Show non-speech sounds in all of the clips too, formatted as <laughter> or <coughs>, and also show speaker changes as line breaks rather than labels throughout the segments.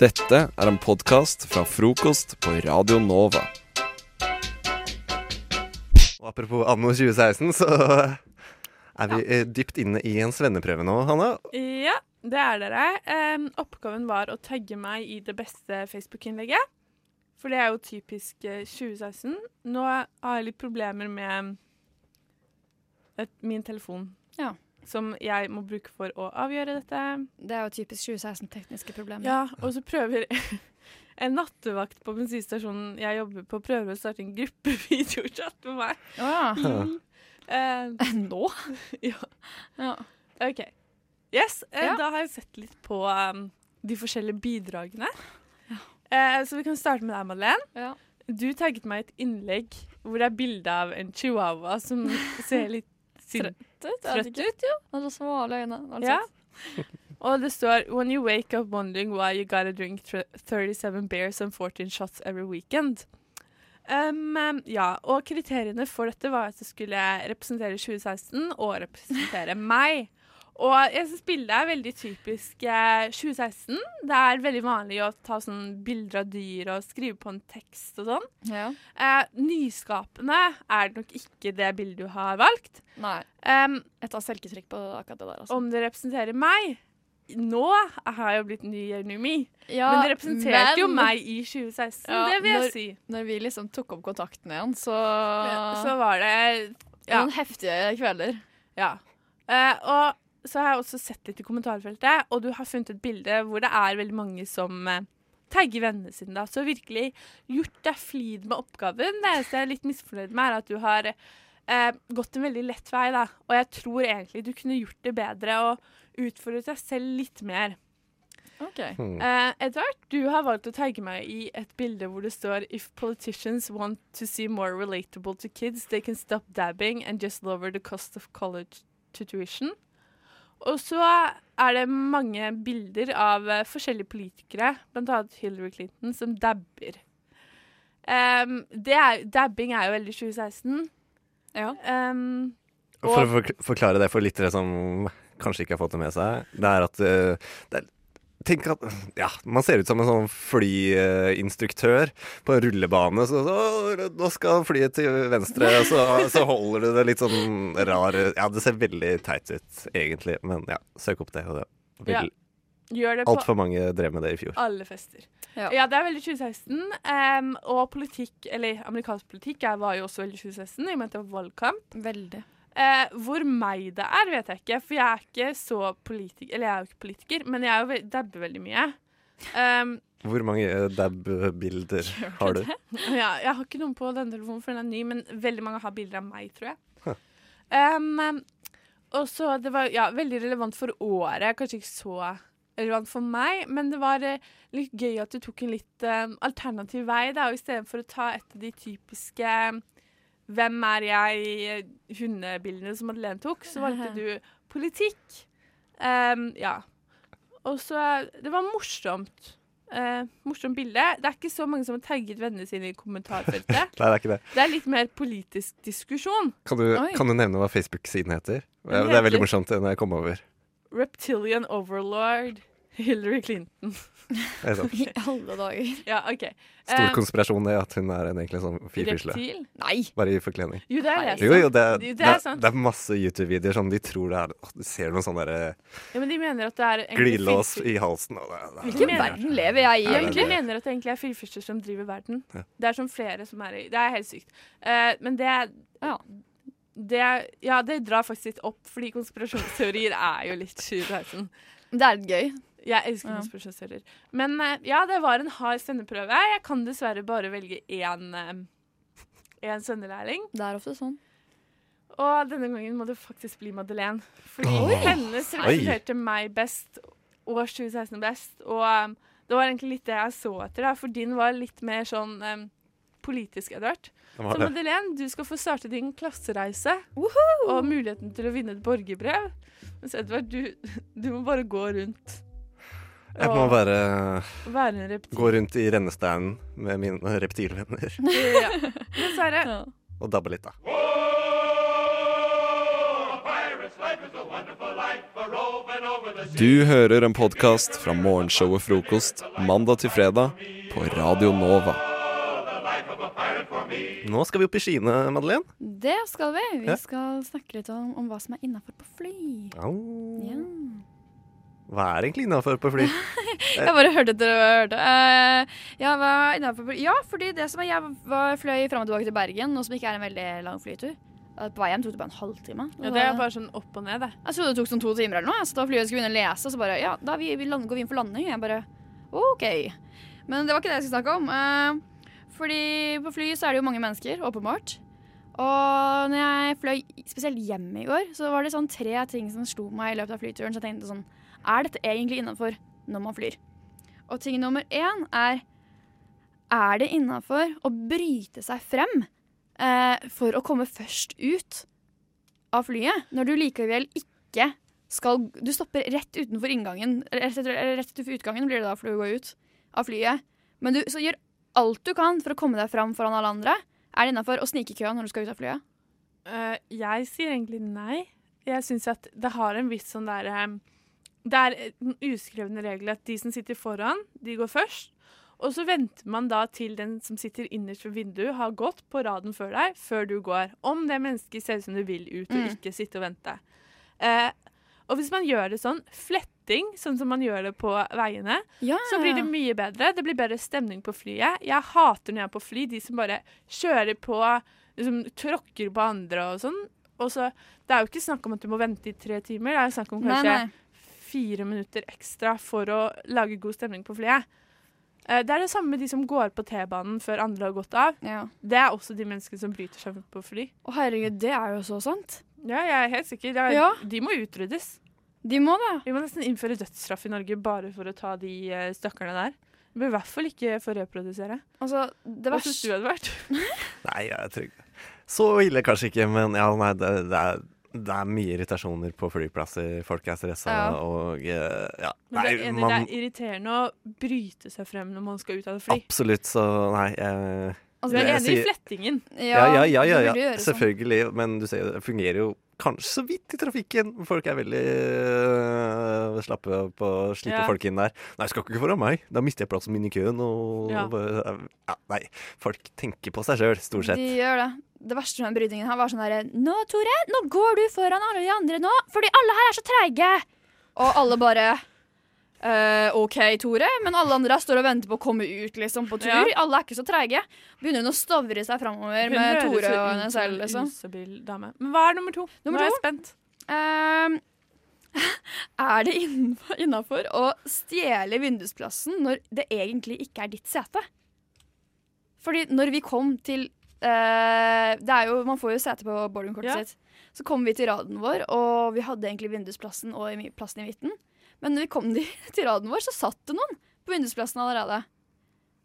Dette er en podkast fra frokost på Radio Nova.
Og apropos anno 2016, så er vi eh, dypt inne i en svenneprøve nå, Hanne.
Ja, det er dere. Em, oppgaven var å tagge meg i det beste Facebook-innlegget. For det er jo typisk eh, 2016. Nå har jeg litt problemer med et, min telefon.
Ja.
Som jeg må bruke for å avgjøre dette.
Det er jo typisk 2016-tekniske problemer.
Ja, og så prøver <laughs> en nattevakt på bensinstasjonen jeg jobber på, prøver å starte en gruppevideochat med meg.
Å,
<laughs>
ja.
Lol. Eh,
<laughs> Nå?
<laughs> ja.
Ja.
OK. Yes, eh,
Ja.
da har jeg sett litt på um, de forskjellige bidragene. Eh, så vi kan starte med deg, Madeleine.
Ja.
Du tagget meg i et innlegg hvor det er bilde av en chihuahua
<laughs>
som ser litt sint
Trøtt
trøtt ut.
ut? Han har så smale øyne. har du
Ja.
sett?
Og det står When you wake up wondering why you gotta drink tr- 37 beers and 14 shots every weekend. Um, um, ja, og kriteriene for dette var at det skulle representere 2016 og representere meg. Og jeg synes bildet er veldig typisk eh, 2016. Det er veldig vanlig å ta sånn bilder av dyr og skrive på en tekst og sånn.
ja.
Eh, nyskapende er det nok ikke det bildet du har valgt.
Nei.
Um,
Jeg tar selvkritikk på akkurat det der. Altså.
om det representerer meg. Nå har jeg jo blitt ny Jeremy,
Ja,
men det representerte jo
men
meg i 2016.
Ja,
det vil jeg
når-
si.
Når vi liksom tok opp kontakten igjen, så,
Så var det ja.
Noen heftige kvelder.
Ja. Eh, og så har jeg også sett litt i kommentarfeltet, og du har funnet et bilde hvor det er veldig mange som eh, tagger vennene sine. Da. Så virkelig gjort deg flid med oppgaven. Det eneste jeg er litt misfornøyd med, er at du har eh, gått en veldig lett vei. Da. Og jeg tror egentlig du kunne gjort det bedre og utfordret deg selv litt mer.
Ok.
Hmm.
Eh, Edvard, du har valgt å tagge meg i et bilde hvor det står If politicians want to see more relatable to kids, they can stop dabbing and just lower the cost of college to tuition. Og så er det mange bilder av eh, forskjellige politikere, bl.a. Hillary Clinton, som dabber. Em, det er, dabbing er jo veldig 2016.
Ja.
Em,
For å fork- forklare det for lyttere som kanskje ikke har fått det med seg, det er at eh, det er, Tenk at ja, man ser ut som en sånn flyinstruktør på en rullebane. Så, så nå skal flyet til venstre, og så, så holder du det litt sånn rar Ja, det ser veldig teit ut, egentlig, men ja, søk opp det. og det.
Ja,
Vel,
gjør det på
Altfor mange drev med det i fjor.
Alle fester.
Ja.
Ja, det er veldig 2016. em, og politikk, eller amerikansk politikk er, var jo også veldig 2016, i og med at det var valgkamp.
Veldig.
Eh, hvor meg det er, vet jeg ikke, for jeg er ikke så politiker, eller jeg er jo ikke politiker, men jeg er jo ve dabber veldig mye. Ehm, Em,
Hvor mange eh, dab-bilder har du?
<laughs> ja, jeg har ikke noen på denne telefonen, for den er ny, men veldig mange har bilder av meg, tror jeg. Ehm, Em, em, og så det var ja, veldig relevant for året, kanskje ikke så relevant for meg, men det var eh, litt gøy at du tok en litt eh, alternativ vei, da, og i stedet for å ta et av de typiske eh, hvem er jeg-hundebildene som Madeleine tok, så valgte du politikk. Em, ja. Og så eh, Det var morsomt. Eh, morsomt bilde. Det er ikke så mange som har tagget vennene sine i
<laughs>
kommentarfeltet.
Nei, det er ikke det.
Det er litt mer politisk diskusjon.
Kan du,
Oi.
kan du nevne hva Facebook-siden heter? Det er,
Den
det er
heter-
veldig morsomt det, når jeg kom over.
Reptilian overlord Hillary Clinton.
Det <laughs> er sånn
I alle dager.
Ja, OK.
Stor
Eh,
konspirasjon det at hun er en egentlig sånn firfisle.
reptil?
Nei!
Bare i forkledning.
Jo, det er
Nei.
det.
Jo, jo, det, er-
Det er
det, er,
sant.
det er masse YouTube-videoer som de tror det er Åh, Du ser noen sånne der
Ja, men de mener at det er egentlig
glidelås
firfis-
i halsen. Og det, det,
Hvilken
Hvilken
mener-
verden lever jeg i,
Nei,
De
det er
egentlig?
egentlig mener at det egentlig er firfisler som driver verden.
Ja.
Det er som flere som er i Det er helt sykt. Eh, men det
Ja.
Det, ja, det drar faktisk litt opp, fordi
<laughs>
konspirasjonsteorier er jo litt 2016.
Det er litt gøy.
Jeg elsker
Ja.
konspirasjonsteorier. Men eh, ja, det var en hard svenneprøve. Jeg kan dessverre bare velge én, eh, én svennelærling.
Det er ofte sånn.
Og denne gangen må det faktisk bli Madeleine. Fordi
Oi.
hennes representerte meg best, og 2016 best. Og um, det var egentlig litt det jeg så etter, da, for din var litt mer sånn um, politisk edvard.
det
Så
var det.
Madeleine, du skal få starte din klassereise og muligheten til å vinne et borgerbrev. Mens Edvard, du, du må bare gå rundt
Jeg må bare
og være en reptil.
gå rundt i rennesteinen med mine reptilvenner
Ja.
<laughs>
Dessverre.
og dabbe litt, da.
Du hører en podkast fra morgenshowet Frokost mandag til fredag på Radio Nova.
Nå skal vi opp i skiene, Madeleine.
Det skal vi. Vi
Ja.
skal snakke litt om, om hva som er innafor på fly.
Au.
Ja.
Hva er egentlig innafor på
<laughs>
fly? Eh,
Jeg bare hørte etter hva jeg hørte. Eh, ja, hva er innenfor på- ja, fordi det som er, jeg var, fløy fram og tilbake til Bergen, noe som ikke er en veldig lang flytur. Eh, På vei hjem tok det bare en halvtime.
Ja, det er bare sånn opp og ned, det.
Jeg trodde det tok sånn to timer eller noe. jeg, Så da flyet skulle begynne å lese, og så bare Ja, da vi, vi land, går vi inn for landing. Jeg bare OK. Men det var ikke det jeg skulle snakke om. Eh, fordi på fly så er det jo mange mennesker, åpenbart. Og når jeg fløy spesielt hjem i går, så var det sånn tre ting som slo meg i løpet av flyturen. Så jeg tenkte sånn Er dette egentlig innafor når man flyr? Og ting nummer én er Er det innafor å bryte seg frem eh, for å komme først ut av flyet når du likevel ikke skal Du stopper rett utenfor inngangen eller Rett, etter, eller rett utenfor utgangen blir det da for du går ut av flyet. Men du så gjør alt du kan for å komme deg fram foran alle andre. Er det innafor å snike i køen når du skal ut av flyet?
Eh, jeg sier egentlig nei. Jeg syns at det har en viss sånn derre Det er eh, den uskrevne regel at de som sitter foran, de går først. Og så venter man da til den som sitter innerst ved vinduet, har gått på raden før deg, før du går. Om det mennesket ser ut som du vil ut, og
Mm.
ikke sitte og vente. Eh, og hvis man gjør det sånn, fletting, sånn som man gjør det på veiene,
Ja.
så blir det mye bedre. Det blir bedre stemning på flyet. Jeg hater når jeg er på fly, de som bare kjører på, liksom tråkker på andre og sånn. Og så, Det er jo ikke snakk om at du må vente i tre timer, det er jo snakk om
Nei,
kanskje
nei.
fire minutter ekstra for å lage god stemning på flyet. Eh, Det er det samme med de som går på T-banen før andre har gått av.
Ja.
Det er også de menneskene som bryter seg på fly.
Å herregud, det er jo så sant.
Ja, jeg er helt sikker. Det er,
Ja.
De må utryddes.
De må det.
Vi må nesten innføre dødsstraff i Norge bare for å ta de eh, stakkarene der. Vi bør i hvert fall ikke få reprodusere.
Altså, det
Hva syns du
verste <laughs>
hadde vært?
Nei, jeg er trygg. Så ille kanskje ikke, men ja, nei, det, det, er, det er mye irritasjoner på flyplasser. Folk er stressa
Ja.
og eh, ja.
Men
Nei,
det, er enig,
man,
det er irriterende å bryte seg frem når man skal ut av et fly.
absolutt, så nei. Jeg,
Du
altså,
er
jeg
enig i
sier-
flettingen.
ja, ja, ja, ja,
du
ja,
burde gjøre sånn.
selvfølgelig. Men du ser jo, det fungerer jo kanskje så vidt i trafikken. Folk er veldig eh, slappe på å slippe
Ja.
folk inn der. Nei, skal ikke foran meg. Da mister jeg plassen min i køen. Og
Ja.
bare, eh, ja, nei, folk tenker på seg sjøl, stort sett.
De gjør det. Det verste med den brytingen her var sånn herre Nå, Tore, nå går du foran alle de andre nå, fordi alle her er så treige. Og alle bare «Eh, OK, Tore, men alle andre her står og venter på å komme ut liksom, på tur.
Ja.
Alle er ikke så treige. Begynner hun å stavre seg framover
Hun
med
høres
Tore og
jo ut
henne
som
selv,
en
liksom.
Ustabil dame. Men hva er nummer to?
Nummer
Nå er jeg spent.
Ehm, <laughs> er det innafor å stjele vindusplassen når det egentlig ikke er ditt sete? Fordi når vi kom til eh, det er jo, Man får jo sete på boardingkortet
Ja.
sitt. Så kom vi til raden vår, og vi hadde egentlig vindusplassen og i mi- plassen i midten. Men når vi kom <laughs> de- til raden vår, så satt det noen på vindusplassen allerede.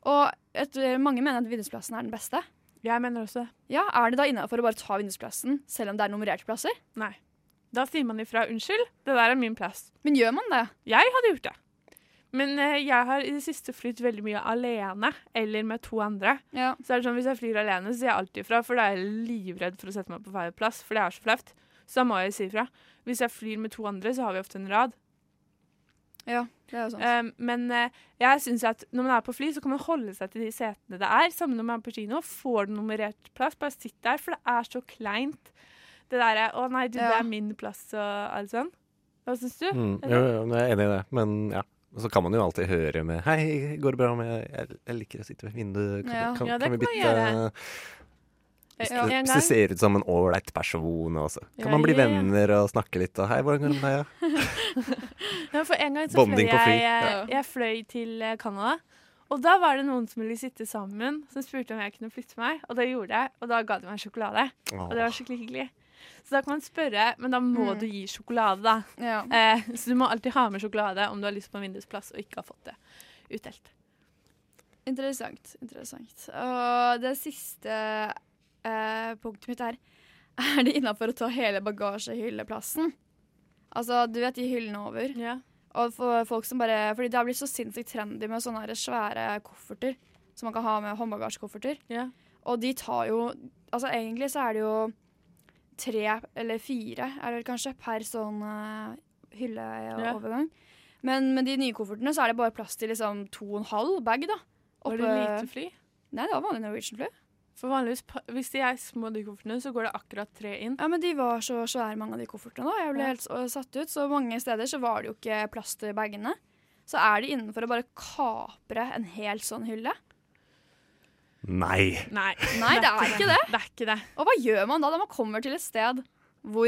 Og etter, mange mener at vindusplassen er den beste.
Jeg mener også det.
Ja, Er det da innafor å bare ta vindusplassen selv om det er nummererte plasser?
Nei. Da sier man ifra 'unnskyld, det der er min plass'.
Men gjør man det?
Jeg hadde gjort det. Men eh, jeg har i det siste flytt veldig mye alene eller med to andre.
Ja.
Så er det sånn, Hvis jeg flyr alene, så sier jeg alltid ifra, for da er jeg livredd for å sette meg på feil plass. For det er så flaut. Så da må jeg si ifra. Hvis jeg flyr med to andre, så har vi ofte en rad.
Ja, det er jo sant.
Eh, men eh, jeg synes at når man er på fly, så kan man holde seg til de setene det er. Samme når man er på kino. Får du nummerert plass, bare sitt der, for det er så kleint. Det derre 'Å nei, du, det
Ja.
er min plass', og alt sånn. Hva syns du?
Mm, jo, jo, men jeg er enig i det, men ja. Og så kan man jo alltid høre med Hei, går det bra med Jeg, jeg liker å sitte ved vinduet. Kan,
Ja.
kan,
Ja, det
kan vi
kan man
bytte
gjøre.
Hvis,
Eh, Ja,
du,
en
hvis du
gang.
ser ut som en ålreit person, og så kan
Ja,
man bli
ja, ja.
venner og snakke litt. Og hei, hvordan går det med deg?
Ja, for en gang så fløy
Bonding
jeg,
på fly.
eh, jeg fløy til eh, Canada. Og da var det noen som ville sitte sammen, som spurte om jeg kunne flytte meg. Og det gjorde jeg, og da ga de meg sjokolade.
Ja.
Og det var skikkelig hyggelig. Så da kan man spørre, men da må
Mm.
du gi sjokolade, da.
Ja.
Eh, så du må alltid ha med sjokolade om du har lyst på en vindusplass og ikke har fått det utdelt.
Interessant. interessant. Og det siste eh, punktet mitt er <laughs> Er det innafor å ta hele bagasjehylleplassen? Altså, du vet de hyllene over. Og for folk som bare Fordi det har blitt så sinnssykt trendy med sånne her svære kofferter som man kan ha med håndbagasjekofferter.
Ja.
Og de tar jo Altså, egentlig så er det jo tre eller fire er det vel kanskje per sånn eh,
Ja.
hylleovergang. Men med de nye koffertene så er det bare plass til liksom to og en halv bag, da.
Var det
Oppe-
lite fly?
Nei, det var vanlig Norwegian fly.
For vanligvis, pa- Hvis de er små, de koffertene, så går det akkurat tre inn.
Ja, men de var så svære, mange av de koffertene. da. Jeg ble
Ja.
helt s- satt ut. Så mange steder så var det jo ikke plass til bagene. Så er de innenfor å bare kapre en hel sånn hylle.
Nei!
Nei,
Nei, det er ikke det.
det er ikke det.
Og hva gjør man da? Da man kommer til et sted hvor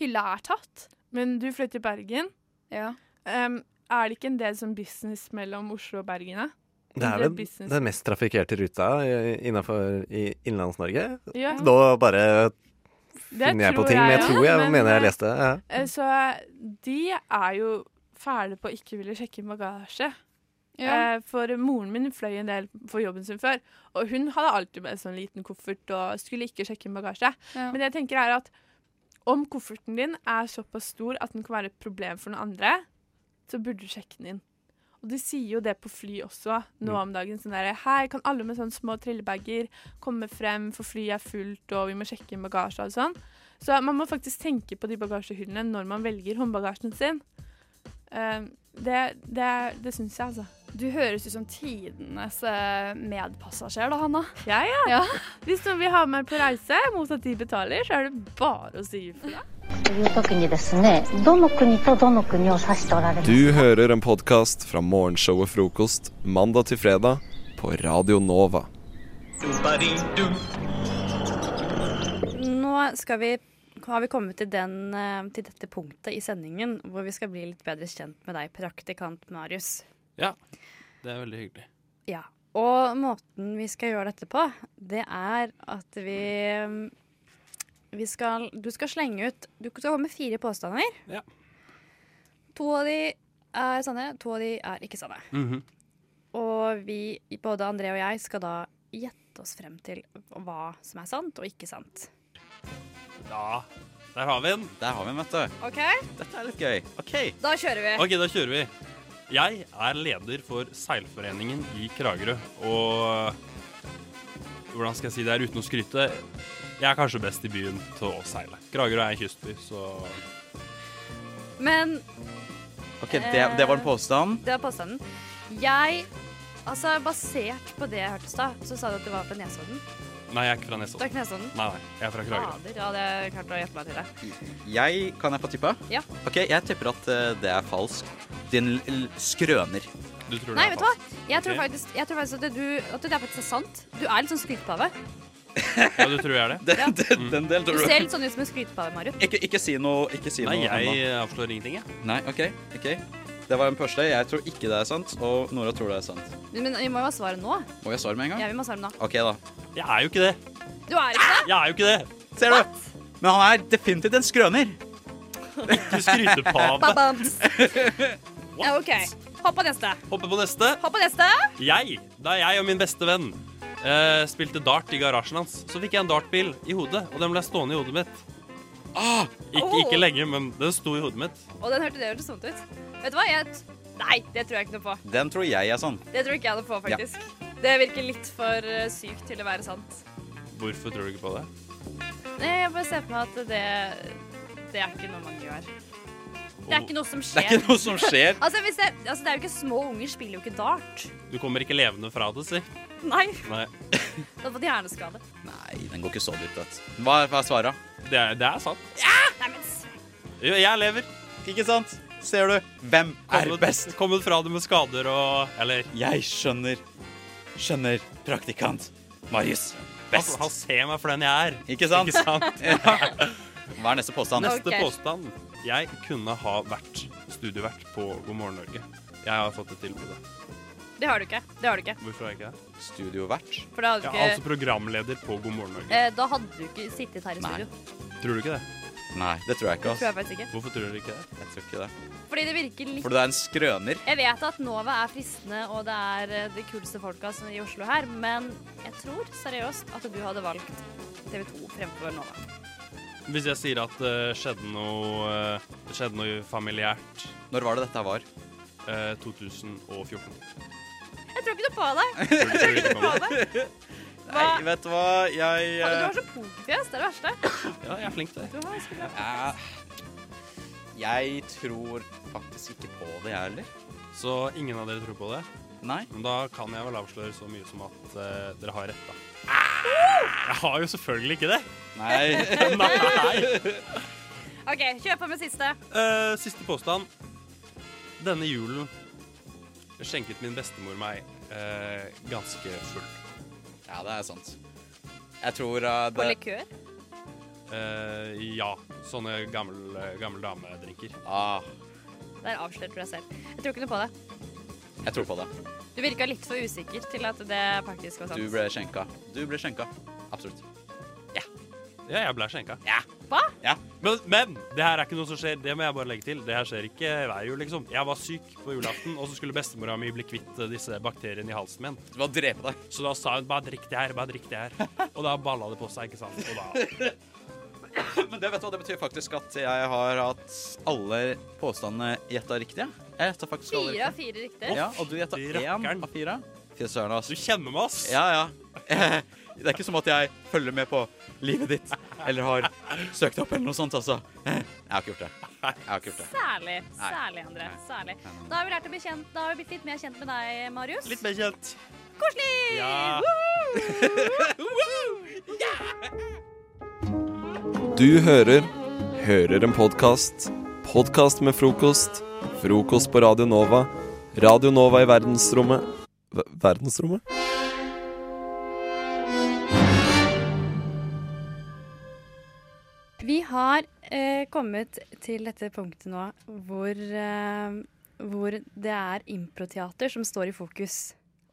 hylla er tatt.
Men du flytter til Bergen.
Ja.
Em, er det ikke en del sånn business mellom Oslo og Bergen? da?
Det er
Det er
vel
business.
den mest trafikkerte ruta innafor i Innlands-Norge.
Ja,
Nå bare
det
finner jeg på
tror
ting, men jeg
også,
tror jeg
men,
mener
eh,
jeg leste ja.
Eh, Så de er jo fæle på å ikke ville sjekke inn bagasje.
Ja.
Eh, For moren min fløy en del for jobben sin før, og hun hadde alltid med en sånn liten koffert og skulle ikke sjekke inn bagasje.
ja.
Men det jeg tenker er at om kofferten din er såpass stor at den kan være et problem for noen andre, så burde du sjekke den inn. Og de sier jo det på fly også nå om dagen. Sånn der, Hei, kan alle med sånne små trillebager komme frem, for flyet er fullt, og vi må sjekke inn bagasje og sånn. Så man må faktisk tenke på de bagasjehyllene når man velger håndbagasjen sin. Eh, det det, det syns jeg, altså.
Du høres ut som tidenes eh, medpassasjer da, Hanna.
Jeg, ja.
Ja.
Hvis noen vil ha meg på reise mot at de betaler, så er det bare å si ifra.
という時にですねどの国とどの国を指しておられます
Du hører en podkast fra morgenshow og frokost mandag til fredag på Radio Nova.
Nå skal vi, har vi kommet til, den, eh, til dette punktet i sendingen hvor vi skal bli litt bedre kjent med deg, praktikant Marius.
Ja, det er veldig hyggelig.
Ja. Og måten vi skal gjøre dette på, det er at vi, mm, vi skal, Du skal slenge ut Du skal komme med fire påstander.
Ja.
To av de er sanne, to av de er ikke sanne. Og vi, både André og jeg, skal da gjette oss frem til hva som er sant og ikke sant.
Ja, der har vi den. Der har vi den, vet du.
OK?
Dette er litt gøy. OK,
Da kjører vi.
ok, da kjører vi. Jeg er leder for seilforeningen i Kragerø, og hvordan skal jeg si det her uten å skryte? Jeg er kanskje best i byen til å seile. Kragerø er en kystby, så
Men
Ok, det, det var en påstand.
det var påstanden. Jeg Altså, basert på det jeg hørte i stad, så sa du at du var fra Nesodden.
Nei, jeg er ikke fra
Du er
Nesodden.
ikke Nesodden? Ah.
Nei, nei, jeg er fra Kragerø.
Fader, ja, det hadde jeg klart å hjelpe meg til det.
Mm.
Jeg, kan jeg få tippa?
Ja.
Ok, jeg tipper at eh, det er falsk. Din l- skrøner.
Du tror det
Nei,
er
vet du hva?
falskt.
Jeg tror
Ok.
faktisk, jeg tror faktisk at, du, at det er faktisk sant. Du er litt sånn skrytepave.
Ja, du tror jeg er det?
<laughs> Den, den, den del
Du
tror
ser
du.
litt sånn ut som en skrytepave, Marit.
Ikke, ikke si noe. Ikke si
Nei,
noe Emma.
jeg avslører ingenting, jeg.
Nei, ok, ok. Det var en første. Jeg tror ikke det er sant, og Nora tror det er sant.
Men vi må jo ha svaret nå.
Og jeg svarer med en gang.
Ja, vi må ha svaret nå.
Ok, da.
Jeg er jo ikke det.
Du er ikke det?
Jeg er jo ikke det.
Ser du? Men han er definitivt en skrøner.
Du skryter på meg.
Babams. Ja, OK. Hopp på neste.
Hopper på neste.
Hopp på neste.
Jeg, da jeg og min beste venn eh, spilte dart i garasjen hans, så fikk jeg en dartbil i hodet, og den ble stående i hodet mitt. Ah! Ikke,
Oh.
ikke lenge, men den sto i hodet mitt.
Og den hørte det hørtes sånn ut. Vet du hva? Jeg t- Nei, det tror jeg ikke noe på.
Den tror jeg er sann.
Det tror ikke jeg noe på,
Ja.
faktisk. Det virker litt for eh, sykt til å være sant.
Hvorfor tror du ikke på det?
Nei, jeg bare ser på meg at det Det er ikke noe man gjør. Det er ikke noe som
Det er
skjer.
ikke noe som skjer.
<laughs> Altså, hvis det, altså, det er jo ikke små unger spiller jo ikke dart.
Du kommer ikke levende fra det, si.
Nei,
Nei,
da hadde fått hjerneskade.
Nei, den går ikke så dypt, vet du. Hva, hva er svaret?
det er, det er sant.
Nei, men s-
Jo, jeg lever.
Ikke sant? Ser du? Hvem er
Kommet-
best?
Kommet fra det med skader og Eller
Jeg skjønner. Skjønner praktikant Marius
han,
best.
han ser meg for den jeg er.
Ikke sant?
Ikke
<laughs>
sant?
Hva er neste påstand?
Neste
Ok.
påstand. Jeg kunne ha vært studievert på God morgen Norge. Jeg har fått et tilbud.
det har du ikke. Det har du ikke.
Hvorfor har jeg ikke det?
Studiovert.
For da hadde
Jeg
du
er
ikke
altså programleder på God morgen Norge.
eh, Da hadde du ikke sittet her i
Nei.
studio.
Tror du ikke det?
Nei, det tror jeg ikke.
Tror jeg
ass.
faktisk ikke.
Hvorfor tror du ikke det?
Jeg tror ikke det.
Fordi det virker litt
For du er en skrøner.
Jeg vet at Nova er fristende, og det er eh, de kuleste folka som- i Oslo her, men jeg tror seriøst at du hadde valgt TV 2 fremfor Nova.
Hvis jeg sier at det skjedde noe eh, Det skjedde noe familiært
Når var det dette her var?
eh, 2014
Jeg tror ikke noe på deg!
Tror
<laughs>
du- tror du ikke på meg?
Nei, vet du hva, jeg
Du
eh,
har så pokerfjes, det er det verste.
Ja, jeg er flink til det.
eh, Jeg tror faktisk ikke på det, jeg heller.
Så ingen av dere tror på det.
Nei.
Men da kan jeg vel avsløre så mye som at eh, dere har rett, da. Jeg har jo selvfølgelig ikke det.
Nei.
<laughs>
OK, kjør på med siste.
Eh, siste påstand. Denne julen skjenket min bestemor meg eh, ganske full.
Ja, det er sant. Jeg tror eh,
På
det
likør.
Eh, ja, sånne gammel, eh, gammel damedrinker.
ah,
Der avslørte du deg selv. Jeg tror ikke noe på det.
Jeg tror på det.
Du virka litt for usikker til at det faktisk var sant.
Du ble skjenka. Du ble skjenka. Absolutt.
Ja, jeg ble skjenka.
Hva?
Ja.
Men, men det her er ikke noe som skjer. Det må jeg bare legge til. Det her skjer ikke hver jul, liksom. Jeg var syk på julaften, og så skulle bestemora mi bli kvitt eh, disse bakteriene i halsen min.
Du må drepe deg.
Så da sa hun 'bare drikk det her, bare drikk det her'. Og da balla det på seg, ikke sant. Og
<laughs>
da
Men det, vet du hva, det betyr faktisk at jeg har hatt alle påstandene gjetta riktig. jeg. Jeg gjetta faktisk alle
Fire
riktig.
av fire riktige.
Ja, og du gjetta
Fy
én
rakkeren.
av fire. Fy søren, ass.
Du kjenner meg, ass.
Ja, ja. <laughs> Det er ikke som at jeg følger med på livet ditt eller har søkt opp eller noe sånt, altså. Jeg har ikke gjort det. Jeg har ikke gjort det.
Særlig.
Nei.
Særlig, André.
Nei.
Særlig. Da har vi lært å bli kjent. Da har vi blitt litt mer kjent med deg, Marius.
Litt mer kjent.
koselig!
Ja.
Du hører Hører en podkast. Podkast med frokost. Frokost på Radio Nova. Radio Nova i verdensrommet Ver- Verdensrommet?
Vi har eh, kommet til dette punktet nå hvor, eh, hvor det er improteater som står i fokus.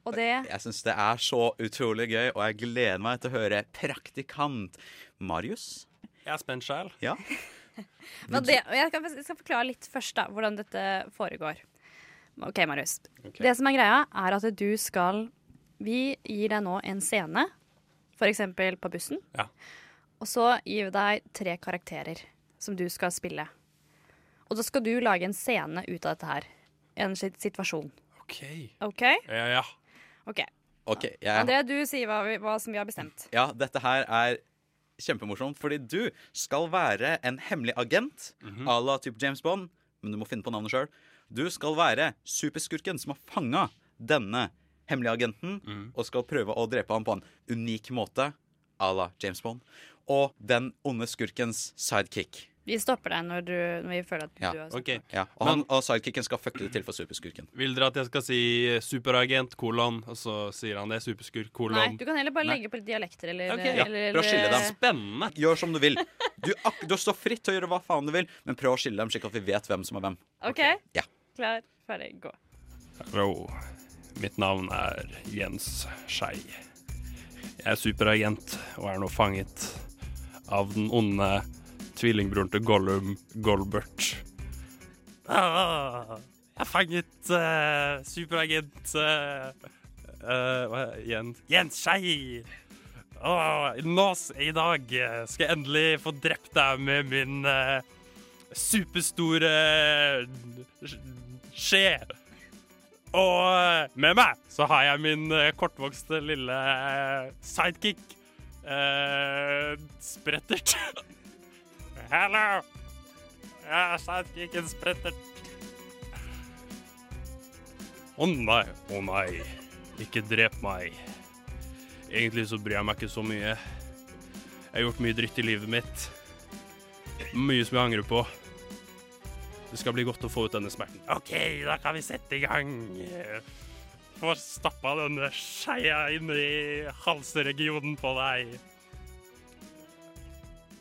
Og det
Jeg syns det er så utrolig gøy, og jeg gleder meg til å høre praktikant Marius.
Jeg er spent sjæl.
Ja.
Men det, og jeg, skal, jeg skal forklare litt først da, hvordan dette foregår. OK, Marius. Det som er greia, er at du skal Vi gir deg nå en scene, f.eks. på bussen.
Ja.
Og så gir vi deg tre karakterer som du skal spille. Og så skal du lage en scene ut av dette her. En slik situasjon.
OK.
OK?
Ja, ja.
Ok.
OK. Jeg,
André, du sier hva, vi, hva som vi har bestemt.
ja, dette her er kjempemorsomt, fordi du skal være en hemmelig agent
Mhm.
à la type James Bond, men du må finne på navnet sjøl. Du skal være superskurken som har fanga denne hemmelige agenten,
Mhm.
og skal prøve å drepe ham på en unik måte à la James Bond. Og den onde skurkens sidekick.
Vi stopper deg når, du, når vi føler at
Ja,
du har
OK.
Ja, og, han, og sidekicken skal fucke det til for superskurken.
Vil dere at jeg skal si eh, superagent, kolon, og så sier han det? Superskurk,
Nei,
kolon.
du kan heller bare
Nei.
legge på litt dialekter eller, eh,
Ok, ja,
eller
prøv å skille dem.
Spennende.
Gjør som du vil. Du, ak du står fritt til å gjøre hva faen du vil, men prøv å skille dem slik at vi vet hvem som er hvem.
OK?
Ja.
Klar, ferdig, gå.
Hallo. Mitt navn er Jens Skei. Jeg er superagent og er nå fanget av den onde tvillingbroren til Gollum, Golbert. Ah, jeg er fanget eh, superagent eh, eh, hva er- Jens, Jens Skei! Ah, nå, s- I dag eh, skal jeg endelig få drept deg med min eh, superstore eh, skje. Og med meg så har jeg min eh, kortvokste lille eh, sidekick eh, Sprettert. <laughs> Hallo! Jeg er sidekicken Sprettert. Å nei, å nei. Ikke drep meg. Egentlig så bryr jeg meg ikke så mye. Jeg har gjort mye dritt i livet mitt. Mye som jeg angrer på. Det skal bli godt å få ut denne smerten. OK, da kan vi sette i gang. Få stappa denne skeia inn i halsregionen på deg.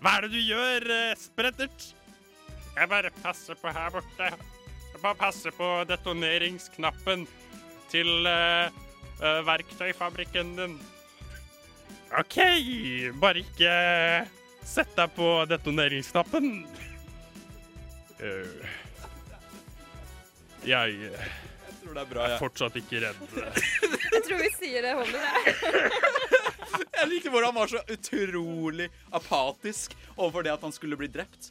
Hva er det du gjør, eh, Sprettert? Jeg bare passer på her borte. Jeg bare passer på detoneringsknappen til eh, eh, verktøyfabrikken din. OK, bare ikke sett deg på detoneringsknappen. Eh, jeg eh,
tror det er bra,
er fortsatt ikke redd.
<laughs> Jeg tror vi sier det
<laughs>
holder, jeg.
Jeg likte hvordan han var så utrolig apatisk overfor det at han skulle bli
<laughs>
drept.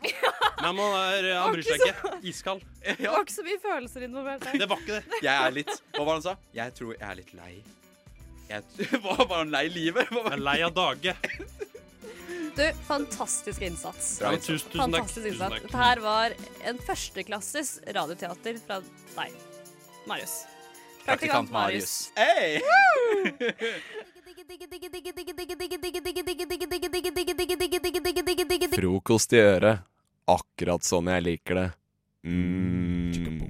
Nei, men han, er, han bryr seg ikke. Iskald.
Det var ikke så mye følelser involvert her.
Det var ikke det.
Jeg er litt <laughs> Hva var det han sa? Jeg tror jeg er litt lei. Jeg var bare lei livet.
Jeg er lei av
<laughs>
Dage.
Du, fantastisk innsats.
Ja, men tusen, tusen takk.
Fantastisk
Tusen
innsats.
takk.
Dette her var en førsteklasses radioteater fra deg, Marius.
Praktikant Marius.
Frokost i øret. Akkurat sånn jeg liker det. Mm.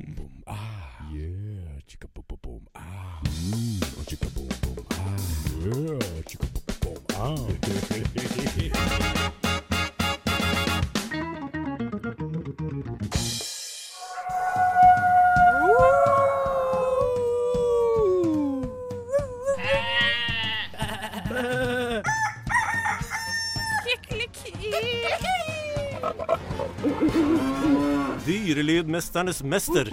Dyrelydmesternes mester.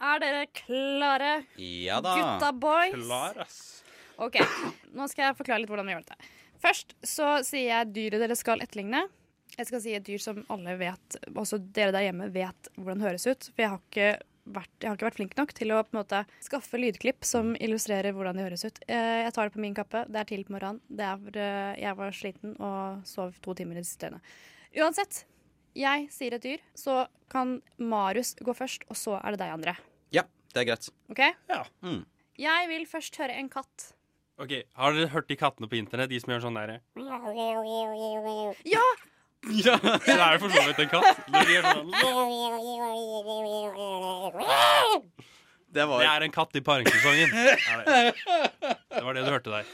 Er dere klare,
Ja da.
gutta boys?
Klar, ass.
OK, nå skal jeg forklare litt hvordan vi gjør dette. Først så sier jeg dyret dere skal etterligne. Jeg skal si et dyr som alle vet, også dere der hjemme vet hvordan det høres ut. For jeg har ikke vært, jeg har ikke vært flink nok til å på en måte skaffe lydklipp som illustrerer hvordan de høres ut. Eh, Jeg tar det på min kappe. Det er tidlig på morgenen. Det er, eh, jeg var sliten og sov to timer i det siste døgnet. Uansett, jeg sier et dyr, så kan Marius gå først, og så er det deg, André.
Ja, det er greit.
OK?
Ja.
Mm.
Jeg vil først høre en katt.
Ok, Har dere hørt de kattene på internett? De som gjør sånn derre
Ja!
Ja, det er jo for så vidt en katt. Når de gjør sånn
Det var
Det er en katt i paringssesongen. Er
<laughs>
det. det var det du hørte der.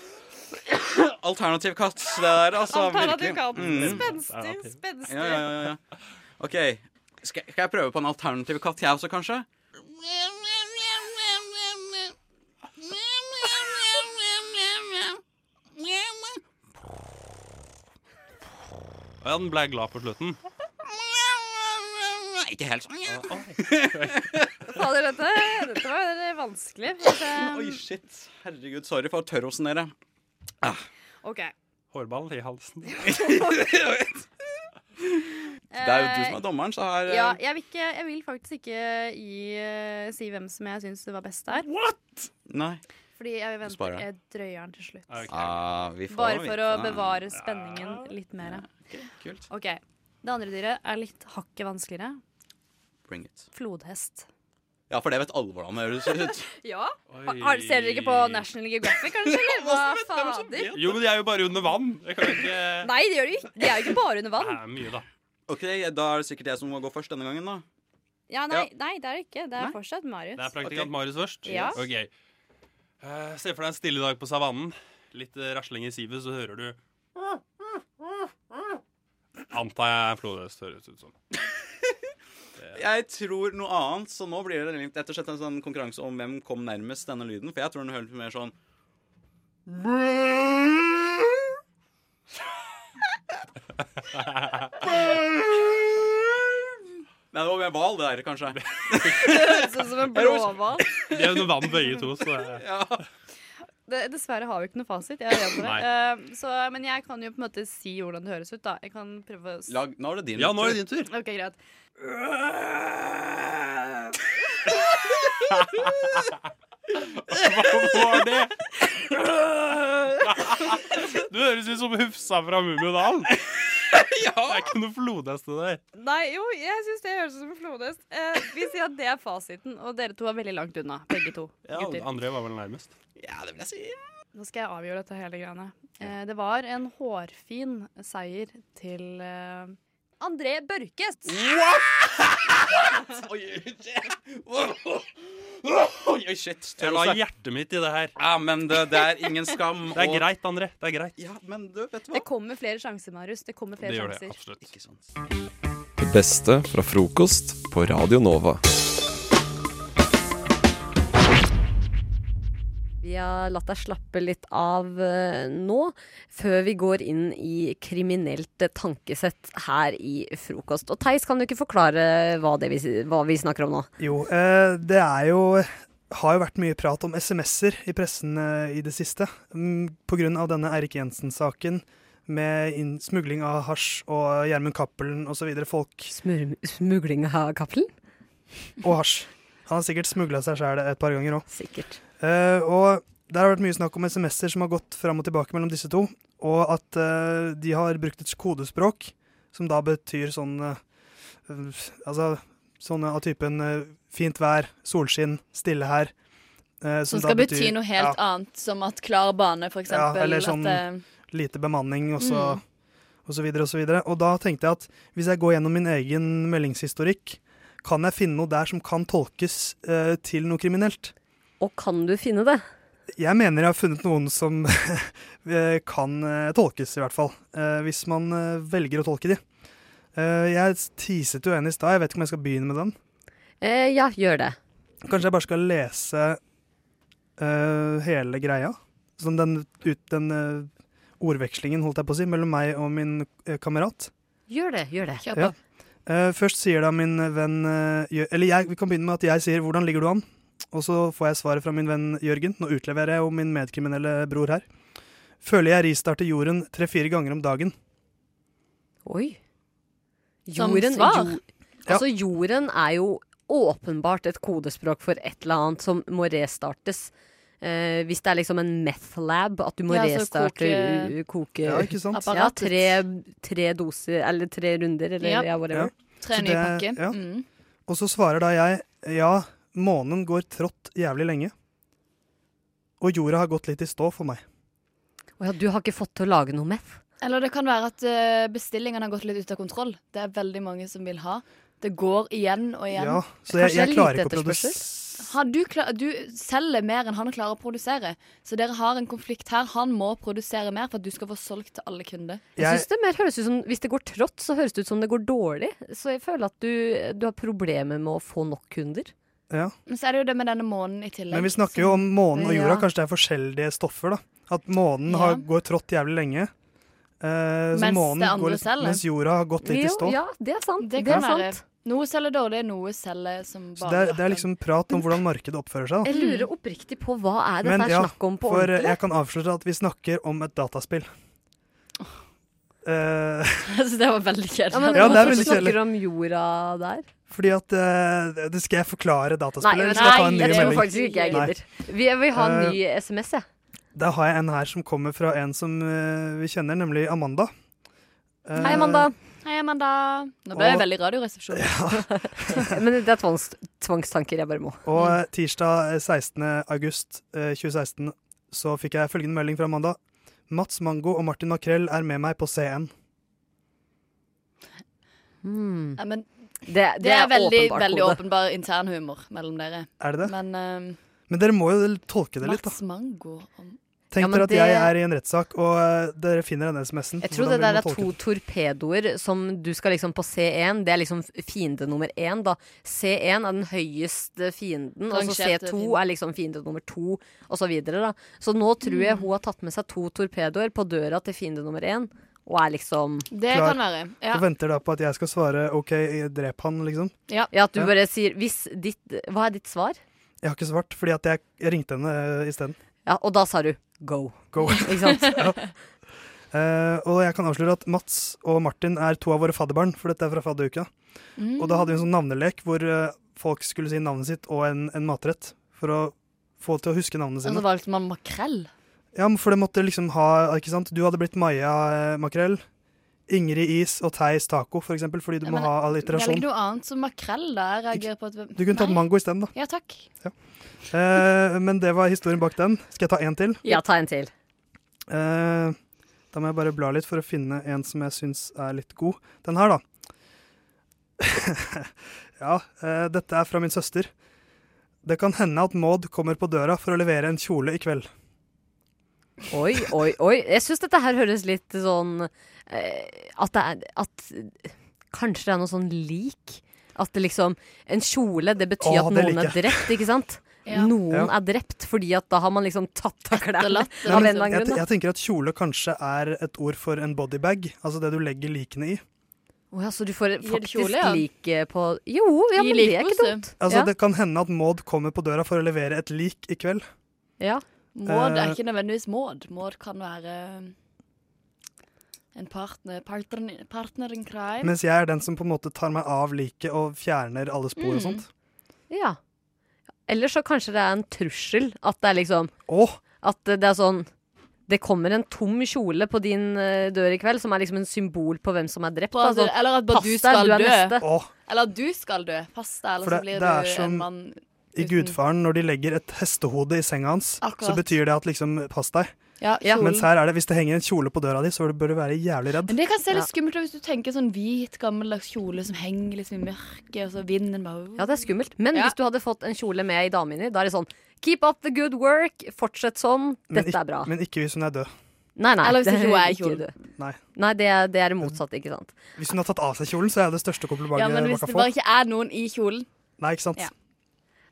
<coughs> alternativ katt, det der. Altså,
Alternativ
virkelig.
katt.
Mm.
Spenstig,
Alternativ.
spenstig.
Ja, ja, ja, ja. OK. Skal, skal jeg prøve på en alternativ katt, jeg også, kanskje?
Og ja, den ble glad på slutten.
Nei, ikke <laughs>
<laughs>
helt sånn.
Fader, dette, dette var vanskelig. men,
Oi,
um,
shit. Herregud, sorry for tørrosen, dere.
Ah. OK.
Hårball i
<laughs>
halsen.
Det er jo du som er dommeren, så her eh,
ja, jeg vil, ikke, jeg vil faktisk ikke gi, eh, si hvem som jeg syns det var best der.
Nei.
Fordi jeg venter
Sparer.
jeg drøyeren til slutt.
Ok.
Ah, vi får
Bare for å
vite.
bevare spenningen litt mer.
Kult.
OK. Det andre dyret er litt hakket vanskeligere.
Bring it.
Flodhest.
Ja, for det vet alle hvordan det høres ut.
<laughs> Ja?
Oi.
Har, ser dere ikke på National Geographic,
<laughs>
kanskje? Eller hva fader?
Jo, men de er jo bare under vann. Jeg kan jo ikke
Nei, det gjør de ikke. De er jo ikke bare under
Det
vann.
er mye, da.
OK, da er det sikkert jeg som må gå først denne gangen, da.
Ja, nei,
nei,
nei, det er det ikke. Det
er
er
Nei?
fortsatt Marius.
Det er praktikant
Ok.
<laughs> Marius først.
Ja.
Ok. Eh, se for deg en stille dag på savannen. Litt eh, rasling i sivet, så hører du Antar jeg flodhest høres
<laughs>
ut som.
Jeg tror noe annet, så nå blir det litt- rett og slett en sånn konkurranse om hvem kom nærmest denne lyden. For jeg tror den høres mer
<laughs>
sånn Nei, det var mer hval, det der, kanskje.
Høres ut Sånn som en blåhval.
De er under vann begge to, så det er
Ja.
Det- Dessverre har vi ikke noe fasit. Jeg er redd for det.
Nei.
Eh, så, men jeg kan jo på en måte si hvordan det høres ut, da. Jeg kan prøve å s-
Lag, nå er det din
Ja, nå er
tur.
det din tur.
OK, greit.
Hva var det? Du høres ut som Hufsa fra
<laughs>
Mummidalen. Ja. Det er ikke noe flodhest i det der.
Nei, jo, jeg syns det høres ut som en flodhest. Eh, vi sier at det er fasiten, og dere to er veldig langt unna, begge to. gutter.
André var vel nærmest.
Ja, det vil jeg si.
Nå skal jeg avgjøre dette hele greiene. Eh, det var en hårfin seier til
<laughs>
eh, André
<laughs>
Børkes.
Oi, <laughs>
<laughs>
Oi, oi, shit.
Jeg la hjertet mitt i det her.
Ja, men det, det er ingen skam.
Det er
og-
greit, André. Det er greit.
Ja, men du, vet du hva?
Det kommer flere sjanser, Marius. Det kommer flere
Det gjør det.
sjanser.
Absolutt.
Ikke sant.
Det beste fra frokost på Radio Nova.
Vi har latt deg slappe litt av eh, nå, før vi går inn i kriminelt eh, tankesett her i frokost. Og Theis, kan du ikke forklare hva, det vi, s- hva vi snakker om nå?
Jo, eh, det er jo har jo vært mye prat om SMS-er i pressen eh, i det siste. Mm, på grunn av denne Eirik Jensen-saken med inn, smugling av hasj og Gjermund Cappelen osv. folk
Smur, smugling av Cappelen?
og hasj. Han har sikkert smugla seg sjæl et par ganger òg.
Sikkert.
Eh, og der har det vært mye snakk om SMS-er som har gått fram og tilbake mellom disse to, og at eh, de har brukt et kodespråk som da betyr sånn eh, eh, Altså sånn av typen eh, fint vær, solskinn, stille her. eh,
Som
da
skal bety
betyr-
noe helt annet, som at klar bane, for eksempel.
ja, eller sånn
at, eh,
lite bemanning, og så,
Mm.
og så videre og så videre. Og da tenkte jeg at hvis jeg går gjennom min egen meldingshistorikk, kan jeg finne noe der som kan tolkes eh, til noe kriminelt?
Og kan du finne det?
Jeg mener jeg har funnet noen som <laughs> eh, kan eh, tolkes, i hvert fall. eh, hvis man eh, velger å tolke de. Eh, jeg teaset jo en i stad, jeg vet ikke om jeg skal begynne med den.
Eh, ja, gjør det.
Kanskje jeg bare skal lese eh, hele greia? Sånn den, ut, den eh, ordvekslingen, holdt jeg på å si, mellom meg og min eh, kamerat.
Gjør det, gjør det.
Ja. Eh, først sier da min venn eh, Jø- Eller jeg, vi kan begynne med at jeg sier 'hvordan ligger du an?' Og så får jeg svaret fra min venn Jørgen. Nå utleverer jeg jo min medkriminelle bror her. Føler jeg ristarter jorden tre-fire ganger om dagen.
Oi.
Som
Jorden,
svar?
Jo, altså, jorden er jo åpenbart et kodespråk for et eller annet som må restartes. Eh, hvis det er liksom en meth lab, at du må
Ja, altså
restarte
koke-
u- koke
Ja, ikke sant?
Ja,
Apparatet.
tre, tre doser, eller tre runder, eller ja, whatever.
Tre
Så
nye
det-
pakker.
ja.
Mm.
Og så svarer da jeg 'ja, månen går trått jævlig lenge'. Og jorda har gått litt i stå for meg.
Å ja, du har ikke fått til å lage noe meth?
Eller det kan være at eh, bestillingene har gått litt ut av kontroll. Det er veldig mange som vil ha. Det går igjen og igjen.
Ja, så jeg,
Kanskje det
jeg
er
klarer
lite
ikke å produsere
etterspørsel?
Han, du, kla- du selger mer enn han klarer å produsere. Så dere har en konflikt her. Han må produsere mer for at du skal få solgt til alle kunder.
Jeg, synes det mer høres ut som, Hvis det går trått, så høres det ut som det går dårlig. Så jeg føler at du, du har problemer med å få nok kunder.
Ja.
Men så er det jo det med denne månen i tillegg.
Men vi snakker jo om månen og jorda.
sånn Ja.
Kanskje det er forskjellige stoffer, da. At månen har, går trått jævlig lenge. eh, så
Mens
månen
det andre
går litt,
selger.
Mens jorda har gått litt i stå.
det er sant.
Det
Det er
kan være.
sant.
Noe selger dårlig, noe selger som
Så det
bare
er, det er liksom prat om hvordan markedet oppfører seg.
Jeg
Da.
lurer oppriktig på hva er dette her snakk om på
for
ordentlig?
jeg kan avsløre at vi snakker om et dataspill. Eh,
<laughs>
<laughs>
Jeg synes det var veldig
Ja,
kjedelig.
men
Ja, det er
hvorfor
veldig
snakker
kjedelig.
du om jorda der?
fordi at eh, Det skal jeg forklare
Nei,
dataspillet.
jeg,
eller skal jeg ta en ny
tror
melding?
faktisk ikke jeg
Nei.
gidder. Vi, jeg vil ha en
Eh,
ny SMS, jeg.
Da har jeg en her som kommer fra en som eh, vi kjenner, nemlig Amanda. Eh,
Hei, Amanda.
Hei, Amanda. Nå ble jeg
Og-
veldig radioresepsjon. <laughs>
Men det er tvangs, tvangstanker jeg bare må.
Og eh, tirsdag eh, 16. august eh, 2016 så fikk jeg følgende melding fra Amanda. Mats Mango og Martin Makrell er med meg på CN.
Ja, men
det,
det
Hmm.
er
er veldig,
åpenbart
veldig
kode.
åpenbar internhumor mellom dere.
Er det det?
Men ehm,
Men dere må jo tolke det litt, da.
Mats Mango om
Tenk
Ja, men
dere at
det-
jeg er i en rettssak, og eh, dere finner den SMS-en.
Jeg tror det der er to torpedoer som du skal liksom på C1. Det er liksom fiende nummer én, da. C1 er den høyeste fienden, og så
Rangerte
C2
fienden.
er liksom fiende nummer to, og så videre, da. Så nå tror
Mm.
jeg hun har tatt med seg to torpedoer på døra til fiende nummer én, og er liksom
Det kan være. Ja.
Og venter da på at jeg skal svare OK, drep han, liksom.
Ja.
at du
Ja.
bare sier hvis ditt Hva er ditt svar?
Jeg har ikke svart, fordi at jeg, jeg ringte henne uh, isteden.
Ja, og da sa du go.
Go.
<laughs> Ikke sant?
<laughs> ja. Eh, og jeg kan avsløre at Mats og Martin er to av våre fadderbarn, for dette er fra fadderuka. Og
Mm.
da hadde vi en sånn navnelek hvor eh, folk skulle si navnet sitt og en, en matrett for å få til å huske navnene
Og så
sine.
valgte man makrell.
Ja, men for det måtte liksom ha, ikke sant? Du hadde blitt Maja eh, Makrell, Ingrid Is og Theis Taco, for eksempel, fordi du må ha
Velg
alliterasjon.
noe annet som makrell, da. Jeg reagerer på at
Du kunne tatt
Nei.
mango isteden, da.
Ja, takk.
Eh, men det var historien bak den. Skal jeg ta en til?
Ja, ta en til.
Eh, da må jeg bare bla litt for å finne en som jeg syns er litt god. Den her, da. <laughs> ja, eh, dette er fra min søster. Det kan hende at Maud kommer på døra for å levere en kjole i kveld.
Oi, oi, oi. Jeg syns dette her høres litt sånn eh, At det er At kanskje det er noe sånn lik. At det liksom En kjole, det betyr
Å,
at
det
noen
liker
er
jeg.
drept, ikke sant?
Ja.
Noen
Ja.
er drept fordi at da har man liksom tatt av klærne.
Nei,
Av en
men
eller annen
jeg,
grunn.
jeg
da.
tenker at kjole kanskje er et ord for en bodybag, altså det du legger likene i.
Å ja, så du får faktisk
kjole, ja.
lik eh, på Jo, ja,
I
men det er ikke
likpose.
dumt.
Altså
ja.
Det kan hende at Maud kommer på døra for å levere et lik i kveld.
ja.
Maud
Eh.
er ikke nødvendigvis Maud. Maud kan være eh, en partner, partner, partner in crime.
Mens jeg er den som på en måte tar meg av liket og fjerner alle spor
Mm.
og sånt.
Ja. Eller så kanskje det er en trussel. At det er liksom At det er sånn Det kommer en tom kjole på din eh, dør i kveld, som er liksom en symbol på hvem som er drept.
På at
da,
du-
sånn,
eller at bare
pass
du
deg,
skal
er
dø.
neste.
Eller at du skal dø. Pass deg, eller
For det-
så blir
det er sånn-
du
som-
en mann
I Gudfaren, når de legger et hestehode i senga hans,
Akkurat.
så betyr det at liksom, pass deg.
Ja, kjolen.
Mens her er det, hvis det henger en kjole på døra di, så bør du være jævlig redd.
Men det kan se litt skummelt ut hvis du tenker sånn hvit, gammeldags kjole som henger liksom i mørket, og så vinden bare
Ja, det er skummelt. Men hvis du hadde fått en kjole med i damene, da er det sånn Keep up the good work. Fortsett sånn.
Men
Dette
ikk-
er bra.
Men ikke hvis hun er død.
Nei, nei.
Eller hvis
det
ikke hun er i
ikke
kjolen.
død.
Nei.
Nei, det er, det er det motsatte, ikke sant.
Hvis hun har tatt av seg kjolen, så er det det største komplimentet
Ja, men hvis
man kan
det
få.
bare ikke er noen i kjolen
Nei, ikke sant?
Ja.
Ja.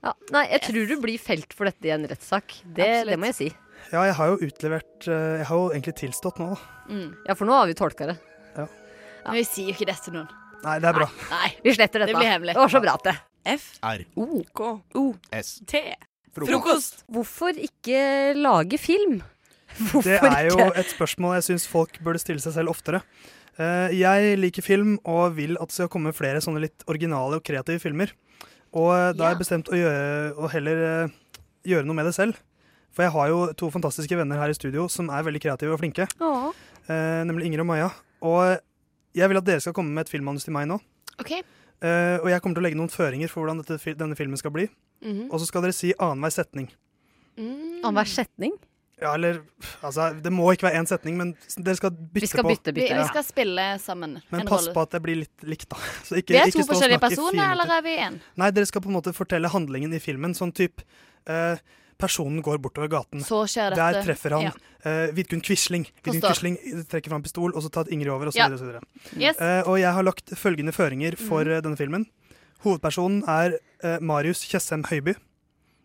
Ja, nei, jeg tror du blir felt for dette i en rettssak. Det, det må jeg si.
jeg har jo utlevert eh, Jeg har jo egentlig tilstått nå, da.
Ja, for nå har vi tolka det.
Mm. Men vi sier jo ikke det til noen.
Nei, det er bra.
Nei,
vi sletter
dette. Det blir hemmelig.
Det var så bra at det.
F.
R.
O. K.
O.
S.
T.
Frokost. Frokost.
Hvorfor ikke lage film?
Det er jo et spørsmål jeg syns folk burde stille seg selv oftere. Eh, Jeg liker film og vil at det skal komme flere sånne litt originale og kreative filmer. Og eh, da har jeg bestemt å, gjøre, å heller eh, gjøre noe med det selv. For jeg har jo to fantastiske venner her i studio som er veldig kreative og flinke.
Åh.
Eh, Nemlig Inger og Maja. Og jeg vil at dere skal komme med et filmmanus til meg nå.
OK.
Eh, Og jeg kommer til å legge noen føringer for hvordan dette, fil- denne filmen skal bli.
Mhm.
Og så skal dere si annenhver setning.
Mm.
Annenhver setning?
Ja, eller Altså, det må ikke være én setning, men s- dere skal bytte
Vi skal
på.
bytte, bytte. Vi, vi skal spille sammen
Men
en
pass
rolle.
på at det blir litt likt, da. <laughs> Så ikke-
vi er
ikke
to
stå og
forskjellige
snakke i
personer,
fire
eller
minutter.
er vi én?
Nei, dere skal på en måte fortelle handlingen i filmen. Sånn type eh, Personen går bortover gaten.
Så skjer
Der
dette.
treffer han
Ja.
eh, Vidkun Quisling. Vidkun
Forstår.
Quisling trekker fram pistol, og så tar Ingrid over, og så
Ja.
videre. Og, så videre.
Yes.
Eh, og jeg har lagt følgende føringer for
Mhm.
eh, denne filmen. Hovedpersonen er eh, Marius Tjessem Høiby.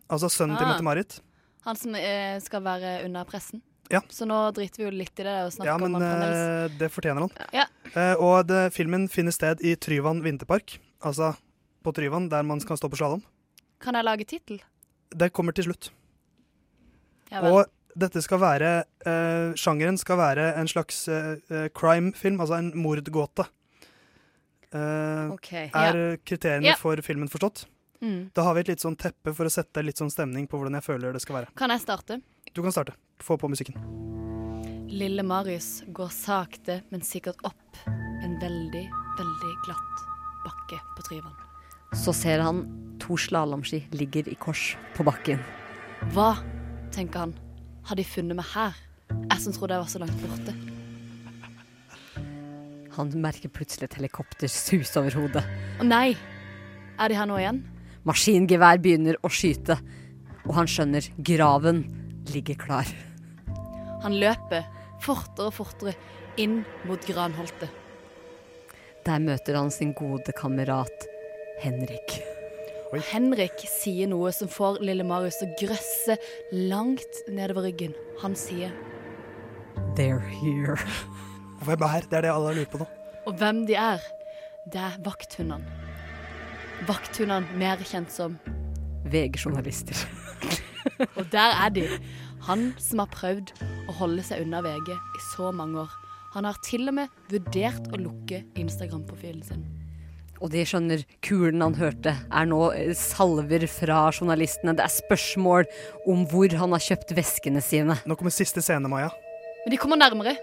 Altså sønnen til
Ah.
Mette-Marit.
Han som eh, skal være under pressen.
Ja.
Så nå driter vi jo litt i det og snakker
Ja, men
om han fremdeles.
eh, det fortjener han.
Ja.
Eh, og det, filmen finner sted i Tryvann vinterpark. Altså på Tryvann, der man kan stå på slalåm.
Kan jeg lage tittel?
Det kommer til slutt.
Ja vel.
og dette skal være eh, Sjangeren skal være en slags eh, eh, crime-film, altså en mordgåte. Eh,
Ok.
Er
Ja.
kriteriene
Ja.
for filmen forstått?
Mm.
Da har vi et litt sånn teppe for å sette litt sånn stemning på hvordan jeg føler det skal være.
Kan jeg starte?
Du kan starte. Få på musikken.
Lille Marius går sakte, men sikkert opp en veldig, veldig glatt bakke på Tryvann.
Så ser han to slalåmski ligger i kors på bakken.
Hva, tenker han, har de funnet meg her? Jeg som trodde jeg var så langt borte.
Han merker plutselig et helikopter sus over hodet.
Å nei, er de her nå igjen?
Maskingevær begynner å skyte, og han skjønner graven ligger klar.
Han løper fortere og fortere inn mot granholtet.
Der møter han sin gode kamerat Henrik.
Henrik sier noe som får lille Marius til å grøsse langt nedover ryggen. Han sier
They're here.
Hvem er her? Det er det alle lurer på nå.
Og hvem de er, det er vakthundene. Vakthundene, mer kjent som.
VG-journalister.
<laughs> Og der er de. Han som har prøvd å holde seg unna VG i så mange år. Han har til og med vurdert å lukke Instagram-profilen sin.
Og de skjønner kulen han hørte, er nå eh, salver fra journalistene. Det er spørsmål om hvor han har kjøpt veskene sine.
Nå kommer siste scene, Maja.
Men de kommer nærmere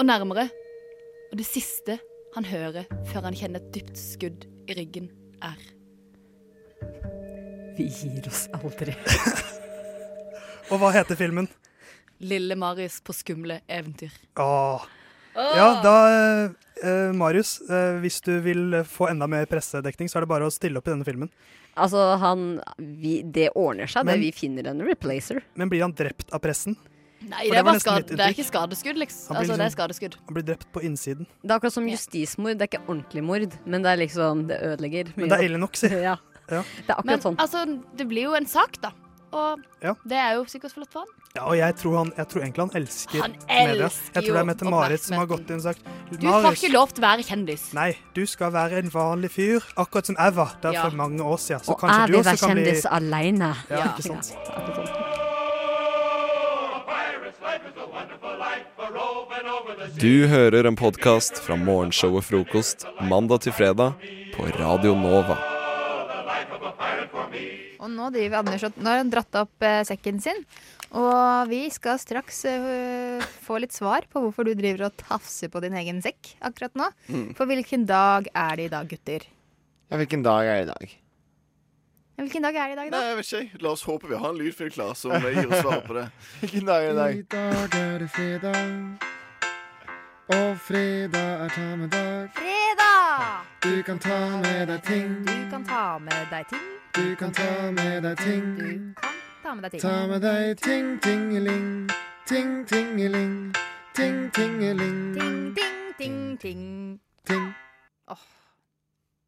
og nærmere. Og det siste han hører før han kjenner et dypt skudd i ryggen, er
Vi gir oss aldri.
<laughs> Og hva heter filmen?
Lille Marius på skumle eventyr.
Åh.
Ah.
Åh.
Ah. Ja, da eh, Marius, eh, hvis du vil eh, få enda mer pressedekning, så er det bare å stille opp i denne filmen.
Altså, han vi, Det ordner seg,
Men-
det. Vi finner en replacer.
Men blir han drept av pressen?
Nei, det,
For det
er bare
var nesten
skade,
mitt
det er
inntrykk.
ikke skadeskudd, liksom.
Han blir
Altså, det er
liksom-
skadeskudd.
Han blir drept på innsiden.
Det er akkurat som justismord. Det er ikke ordentlig mord, men det er liksom Det ødelegger.
Men det er ille nok, si.
<laughs> Ja.
Ja.
Det er akkurat
Men
sånn.
altså, det blir jo en sak, da. Og
Ja.
det er jo sikkert flott for han.
Ja, og jeg tror, han, jeg tror egentlig han elsker
Han
media.
elsker
Jeg tror det
jo
er Mette-Marit som har gått inn og sagt
Du får ikke lov til å være kjendis.
Nei, du skal være en vanlig fyr, akkurat som jeg var der
Ja.
for mange år siden. Så
Og
kanskje
jeg
du
vil
også
være
kan bli
kjendis alene.
Ja,
Ja.
ikke sant.
sånn.
Du hører en podkast fra morgenshowet Frokost mandag til fredag på Radio Nova.
Å Og nå driver Anders og Nå har han dratt opp eh, sekken sin. Og vi skal straks eh, få litt svar på hvorfor du driver og tafser på din egen sekk akkurat nå.
Mm.
For hvilken dag er det i dag, gutter?
Ja, hvilken dag er det i dag?
Ja, Hvilken dag er det i dag, da?
Nei, jeg vet ikke. La oss håpe vi har en lydfyr klar som eh, gir oss svar
<laughs>
på det.
Hvilken dag er det i dag? I dag er det fredag. Og fredag er ta med dag.
Fredag!
Du kan ta med deg ting.
Du kan ta med deg ting.
Du kan ta med deg ting.
Ta med deg ting.
Ta med deg ting, tingeling. Ting, tingeling. Ting, tingeling.
Ting, ting, ting, ting.
Ting.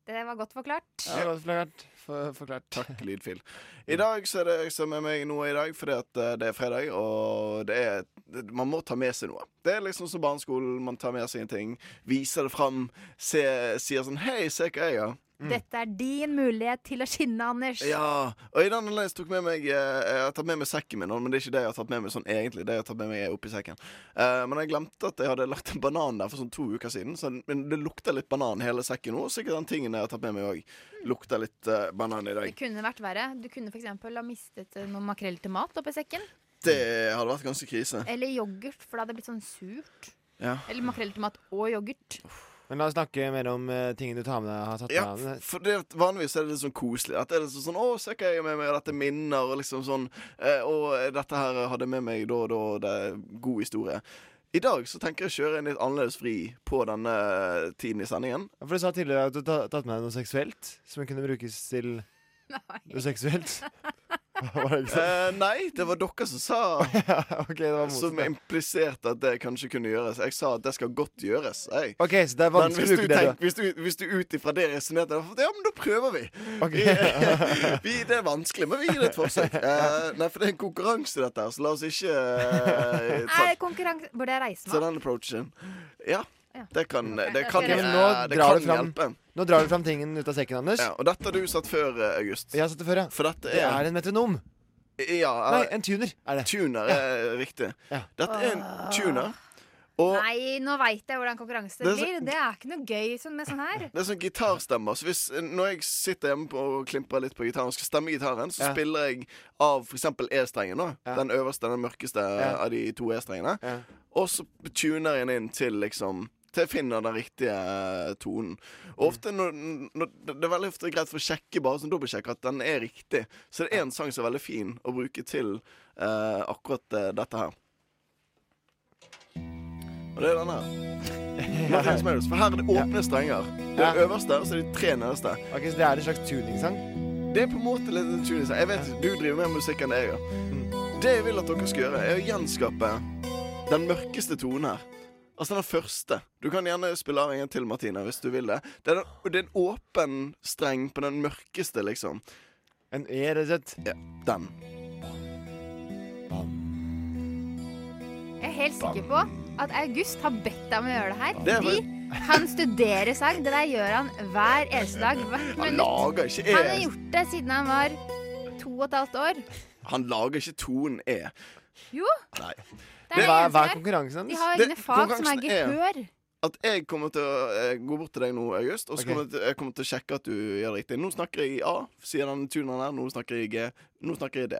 Det var godt forklart.
<laughs> Ja, det var forklart. <laughs> Takk, lydfil. I dag så er det jeg som er med meg noe i dag, fordi at eh, det er fredag, og det er det- Man må ta med seg noe. Det er liksom som barneskolen. Man tar med seg en ting, viser det fram, se, sier sånn Hei, se hva jeg har.
Mm.
Dette er din mulighet til å skinne, Anders.
Ja, og i den anledning tok med meg eh, Jeg har tatt med meg sekken min, nå, men det er ikke det jeg har tatt med meg sånn egentlig. Det jeg har tatt med meg er oppi sekken. Eh, men jeg glemte at jeg hadde lagt en banan der for sånn to uker siden. Så den- men det lukter litt banan hele sekken nå. og Sikkert den tingen jeg har tatt med meg òg, lukter litt eh, banan i
Det
dag.
kunne vært verre. Du kunne f.eks. ha mistet eh, noe makrell til mat oppi sekken.
Det hadde vært ganske krise.
Eller yoghurt, for det hadde blitt sånn surt.
Ja.
Eller makrell til mat og yoghurt.
Men la oss snakke mer om eh, tingene du tar med deg. Har tatt
Ja,
med deg.
for det, at vanligvis er det litt sånn koselig. At det er litt sånn, sånn 'Å, se hva jeg har med meg, og dette er minner', og liksom sånn. Eh, og dette her hadde jeg med meg da og da, og det er god historie. I dag så tenker jeg å kjøre en litt annerledes vri på denne tiden i
<laughs>
sendingen.
Ja, For du sa tidligere at du har tatt med deg noe seksuelt som kunne brukes til noe
<laughs>
seksuelt. Var det ikke sant?
Eh, nei, det var dere som sa
motsatt,
Som
ja.
impliserte at det kanskje kunne gjøres. Jeg sa at det skal godt gjøres. Jeg.
<laughs> Ok, så det er
Men
vanskelig
hvis
å
du,
bruke det, da.
tenker- <laughs> hvis du, hvis du ut ifra det resonnerte Ja, men da prøver vi. vi! Det er vanskelig, men vi gir det et
<laughs>
forsøk. Eh, nei, for det er en konkurranse, dette her, så la oss ikke
<laughs>
eh, ta,
Er konkurranse Burde jeg reise
ta
meg?
den Sånn approachen. Ja. Det kan, det kan,
Ok, men nå,
eh, det kan
drar du fram,
hjelpe.
nå drar du fram tingen ut av sekken, Anders.
Ja, og dette har du satt før, eh, August.
Jeg har satt det før, ja.
For dette
Det er en metronom.
ja,
Nei,
eh,
en tuner er det.
Tuner er riktig. Dette er en tuner. Og
Nei, nå veit jeg hvordan konkurranse
Det er så-
blir. Det er ikke noe gøy sånn med sånn her.
det er sånn gitarstemmer. Så hvis, når jeg sitter hjemme på, og klimprer litt på gitaren og skal stemme gitaren, så
Ja.
spiller jeg av f.eks. E-strengen, da.
Ja.
Den øverste, den mørkeste
Ja.
av de to E-strengene. Og så tuner jeg den inn til liksom til jeg finner den riktige eh, tonen.
Mm.
Og ofte når, når, Det er veldig ofte greit for å sjekke bare sånn dobbeltsjekke at den er riktig. Så det er en sang som er veldig fin å bruke til eh, akkurat eh, dette her. Og det er denne
<laughs>
her. Martin Smedes, For her er det åpne strenger. Det er det øverste, og så er det de tre nederste.
Ok, Så det er en slags tuningsang?
Det er på en måte litt en tuningsang. Jeg vet du driver mer musikk enn det jeg gjør. Det jeg vil at dere skal gjøre, er å gjenskape den mørkeste tonen her. Altså den første. Du kan gjerne spille av en gang til, Martina, hvis du vil det. Det er, den, det er en åpen streng på den mørkeste, liksom.
En E, rett og slett?
Ja, den.
Jeg er helt sikker på at August har bedt deg om å gjøre det her.
Det er
Fordi han studerer sang. Det der gjør han hver eneste dag. Hvert
Han
minutt.
lager ikke E.
Han har gjort det siden han var to og et halvt år.
Han lager ikke tonen E.
Jo,
Nei.
det er det eneste der. De har egne fag som er gehør.
At jeg kommer til å eh, gå bort til deg nå, August, og så
Ok.
kommer jeg til- jeg kommer til å sjekke at du gjør det riktig. Nå snakker jeg i A, sier den tuneren her. Nå snakker jeg i G. Nå snakker jeg i D.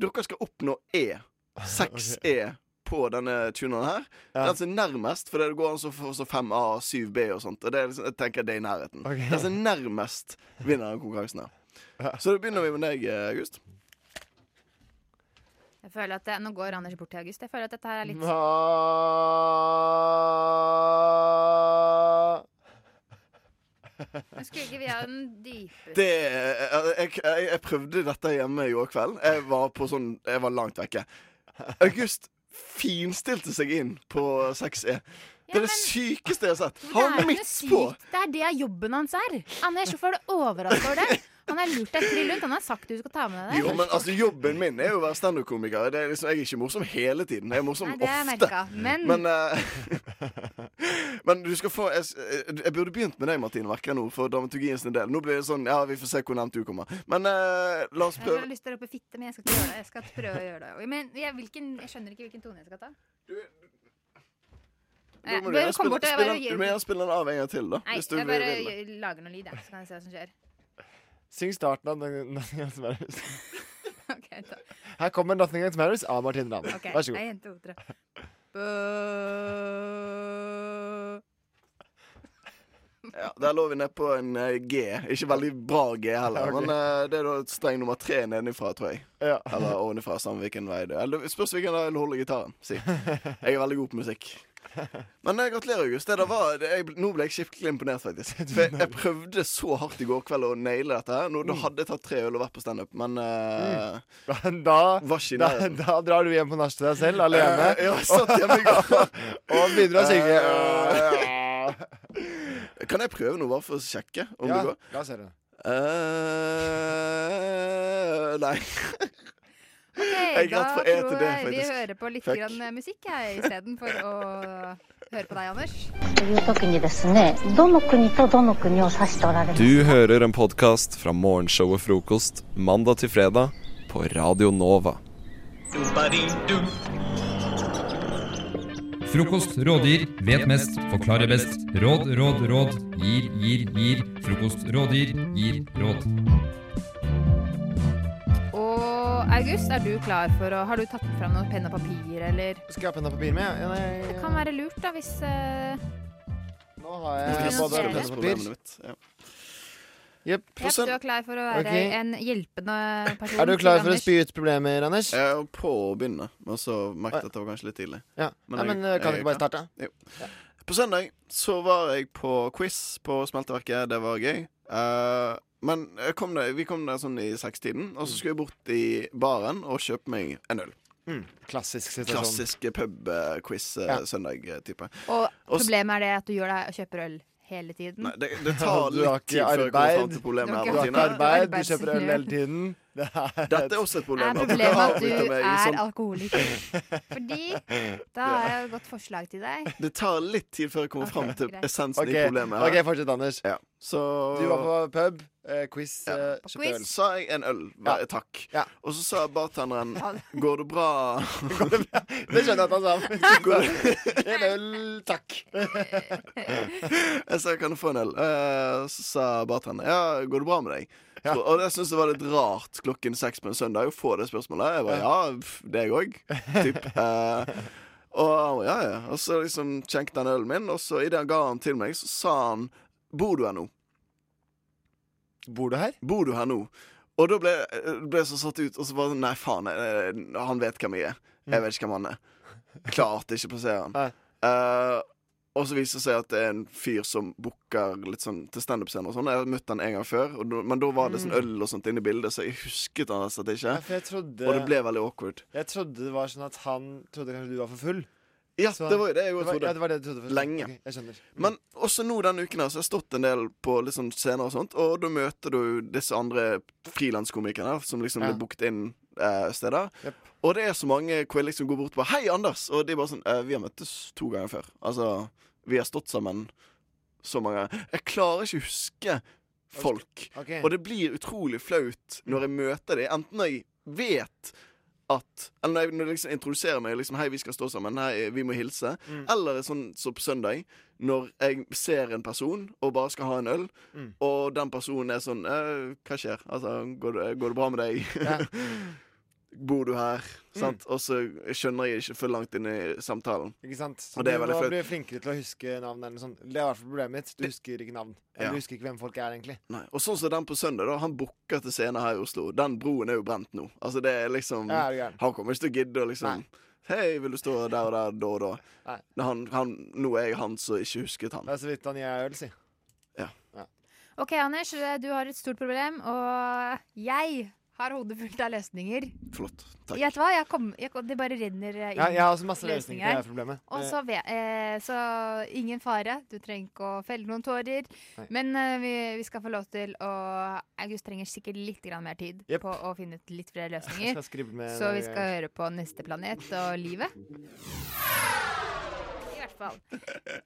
Dere skal oppnå E. 6E på denne tuneren her. Den som er altså nærmest, for det går an å få 5A, 7B og sånt. Og det er liksom, jeg tenker det er i nærheten.
Ok.
Den som er altså nærmest, vinner den konkurransen her. Så da begynner vi med deg, eh, August.
Jeg føler at det, Nå går Anders bort til August. Jeg føler at dette her er litt Nå skulle ikke vi ha den dype
Det, eh, jeg, jeg, jeg prøvde dette hjemme i går kveld. Jeg var, på sånn, jeg var langt vekke. August finstilte seg inn på 6E. Det er det sykeste jeg har sett. Han
Det er jo
midt
ikke
på!
noe sykt. Det er det jobben hans er. Anders, hvorfor er du overraska over det? Han har lurt deg trill rundt. Han har sagt du skal ta med deg
Jo,
det.
men altså Jobben min er jo å være standup-komiker. Det er liksom, jeg er ikke morsom hele tiden. Jeg er morsom
Nei, det har jeg
ofte.
merket, men-
eh, <laughs> men du skal få jeg, s- jeg jeg burde begynt med deg, Martine, merker jeg nå, for dramaturgien sin del. Nå blir det sånn Ja, vi får se hvor nærmt du kommer. Men eh, la oss
Jeg har
prøve.
lyst til å rope fitte, men jeg skal ikke gjøre det. Jeg skal prøve å gjøre det. Men jeg, hvilken, jeg skjønner ikke hvilken tone jeg skal ta.
Da må
Nei, bare
du
kom
gjerne
eh,
spille-
bort og jeg
spille
bare
den- Du
gjør
må gjerne spille den av en gang til, da.
Nei,
hvis du
jeg bare
vil det.
gjør- lager noe lyd, jeg, så kan jeg se hva som skjer.
Syng starten av Nothing Nothing Else Matters.
<laughs> Ok, da.
Her kommer Nothing Else Matters av Martine Ramm.
Ok,
Vær så
en,
god.
to, tre. Bø-
Ja, der lå vi ned på en eh, G. Ikke veldig bra G heller,
Ja, ok.
men eh, det er da streng nummer tre nedenifra, tror jeg. Eller ovenifra, samme hvilken vei det er. Eller det Spørs hvilken del holder gitaren.
<laughs>
Si. Jeg er veldig god på musikk. Men eh, gratulerer, August. Det der var, det, jeg, nå ble jeg skikkelig imponert,
<laughs>
faktisk. For jeg, jeg prøvde så hardt i går kveld å naile dette her. Nå,
Mm.
da hadde jeg tatt tre øl og vært på standup, men eh,
Mm. <laughs> Da,
var ikke i
<laughs> da, <laughs>
nærheten.
da drar du hjem på nach til deg selv alene
Eh, ja, satt hjemme i går.
<laughs> og begynner å synge.
Eh,
<laughs>
Kan jeg prøve noe, bare for å sjekke om
ja,
det går?
da ser du.
eh nei.
Ok,
<laughs>
da
jeg gikk fra
tror
E til D,
jeg vi
faktisk.
hører på litt
Fuck.
grann eh, musikk jeg, istedenfor å høre på deg, Anders.
という時にですねどの国とどの国を指しておられます
Du hører en podkast fra morgenshowet Frokost mandag til fredag på Radio Nova.
Frokost rådgir, vet mest, forklarer best. Råd, råd, råd. Gir, gir, gir. Frokost rådgir, gir råd.
Og August, er du klar for å Har du tatt fram noen penn og papir, eller?
Skal jeg ha penn og papir med? Ja, nei,
Det kan være lurt, da, hvis eh,
Nå har
Skal
jeg
vi
både
notere?
papir Jepp.
Jepp, du er klar for å være
Ok.
en hjelpende person.
Er du klar
til
for å
Anders?
spy ut problemer, Anders?
Jeg var på å begynne, men så merket jeg at det var kanskje litt tidlig.
Ja. Nei, men, eh,
jeg-
kan du
jeg-
ikke bare starte?
Jo. På søndag så var jeg på quiz på Smelteverket. Det var gøy. Eh, men jeg kom der, vi kom der sånn i sekstiden, og så skulle jeg bort i baren og kjøpe meg en øl.
Mm. Klassisk situasjon.
Klassisk eh,
Ja. Mm.
pub-quiz-søndag-type.
Og
Og s-
problemet er det at du gjør deg og kjøper øl hele tiden.
Nei, <laughs> det, det tar
Du har
litt
ikke
tid før jeg kommer
arbeid.
fram til problemet.
Du har
her,
ikke
Martine.
arbeid, du kjøper øl hele tiden. <laughs>
Dette er også et problem.
Er
at
problemet
dere
at du
avbryter meg i
er
sånn-
alkoholiker?
<laughs>
Fordi da har jeg et godt forslag til deg.
Det tar litt tid før jeg kommer fram til
greit.
essensen
Ok,
i problemet.
ok, fortsett, Anders.
Ja. Så
Du var på pub, eh, quiz, eh, kjøpte øl.
Sa jeg en øl? Hva- Takk. Og så sa bartenderen
Ja.
'Går det
<laughs>
bra?'
Det skjønner jeg at han sa.
Går det-
<laughs> En øl,
<laughs>
takk.
<laughs> Jeg sa 'Kan du få en øl?' Eh, Så sa bartenderen 'Ja, går det bra med deg?' Så, og det synes jeg var litt rart klokken seks på en søndag å få det spørsmålet. Jeg bare 'Ja, pff, deg òg?'
<laughs>
Typ. Eh, og han bare, ja, ja. Og så liksom skjenket han ølen min, og så idet han ga den til meg, så sa han 'Bor du her nå?'
Bor du her?
Bor du her nå? Og da ble ble jeg så satt ut, og så bare sånn, Nei, faen, jeg, han vet hvem jeg er.
Mm.
Jeg vet ikke hvem han er. Jeg klarte ikke å plassere han. Eh, og så viser det seg at det er en fyr som booker litt sånn til standup-scener og sånn. Jeg har møtt han en gang før, og da, men da var det sånn
Mm.
øl og sånt inne i bildet, så jeg husket han rett og slett ikke.
Ja, for jeg trodde-
Og det ble veldig awkward.
Jeg trodde det var sånn at han trodde kanskje du var for full.
Ja,
Så han-
det var jo det jeg også
var-
trodde.
Ja, det var det du trodde først.
Lenge.
Ok, jeg skjønner.
Men også nå denne uken her, så har jeg stått en del på litt sånn scener og sånt, og da møter du disse andre frilanskomikerne som liksom
Ja.
blir booket inn eh, steder. Og det er så mange hvor jeg liksom går bort og bare 'Hei, Anders!' Og de er bare sånn eh, 'Vi har møttes to ganger før.' Altså, vi har stått sammen så mange ganger. Jeg klarer ikke å huske folk.
Ok.
Og det blir utrolig flaut når jeg møter dem, enten når jeg vet at Eller når jeg, når jeg liksom introduserer meg liksom, 'Hei, vi skal stå sammen. Hei, vi må hilse.'
Mm.
Eller sånn som på søndag, når jeg ser en person og bare skal ha en øl,
Mm.
og den personen er sånn eh, 'Hva skjer? Altså, går det, går det bra med deg?' <laughs> Bor du her?
Mm.
Sant? Og så skjønner jeg ikke for langt inn i samtalen.
Ikke sant? Så
Og det er
du
veldig
må
flaut.
bli flinkere til å huske navn. Eller noe sånt. Det er i hvert fall problemet mitt. Du husker ikke navn. Eller
Ja.
Du husker ikke hvem folk er, egentlig.
Nei. Og sånn som den på søndag, da. Han booker til scene her i Oslo. Den broen er jo brent nå. Altså, det er liksom
Ja, er du gæren?
Han kommer ikke til å gidde å liksom Hei, vil du stå der og der, da og da?
Nei.
Men Han, han, nå er jeg han som ikke husket han.
Det er så vidt han gir øl, si.
OK, Anders, eh, du har et stort problem, og jeg har hodet fullt av løsninger.
Flott.
Gjett hva? Jeg kom, jeg, kom- det bare renner eh, inn
Ja, jeg har også masse løsninger til det her problemet.
Og så, ve- eh, så ingen fare. Du trenger ikke å felle noen tårer.
Nei.
Men eh, vi, vi skal få lov til å August trenger sikkert litt grann mer tid
Jepp.
på å finne ut litt
<laughs>
flere
Jeg
løsninger.
skal skrive med
så
noen
vi skal høre på neste planet og livet. I hvert fall.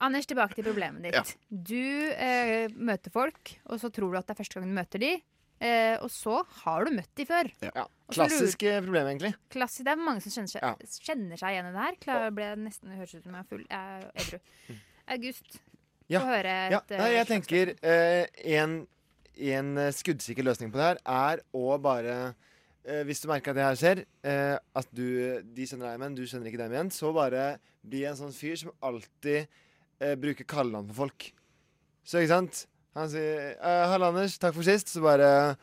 Anders, tilbake til problemet ditt.
Ja.
Du eh, møter folk, og så tror du at det er første gang du møter de. Eh, og så har du møtt de før.
Ja.
Og så lurer-
Klassisk eh, problem, egentlig.
Klassisk, det er mange som kjenner seg,
Ja.
kjenner seg igjen i det her. Klar, ble nesten det høres ut som jeg er full. Jeg er edru. August,
Mm. Ja.
få høre
Ja,
et eh,
nei, jeg tenker eh, en i en eh, skuddsikker løsning på det her, er å bare eh, Hvis du merker at det her skjer, eh, at du, de kjenner deg igjen, du kjenner ikke dem igjen, så bare bli en sånn fyr som alltid eh, bruker kallenavn på folk. Så, ikke sant? Han sier eh, 'Halla, Anders. Takk for sist.' Så bare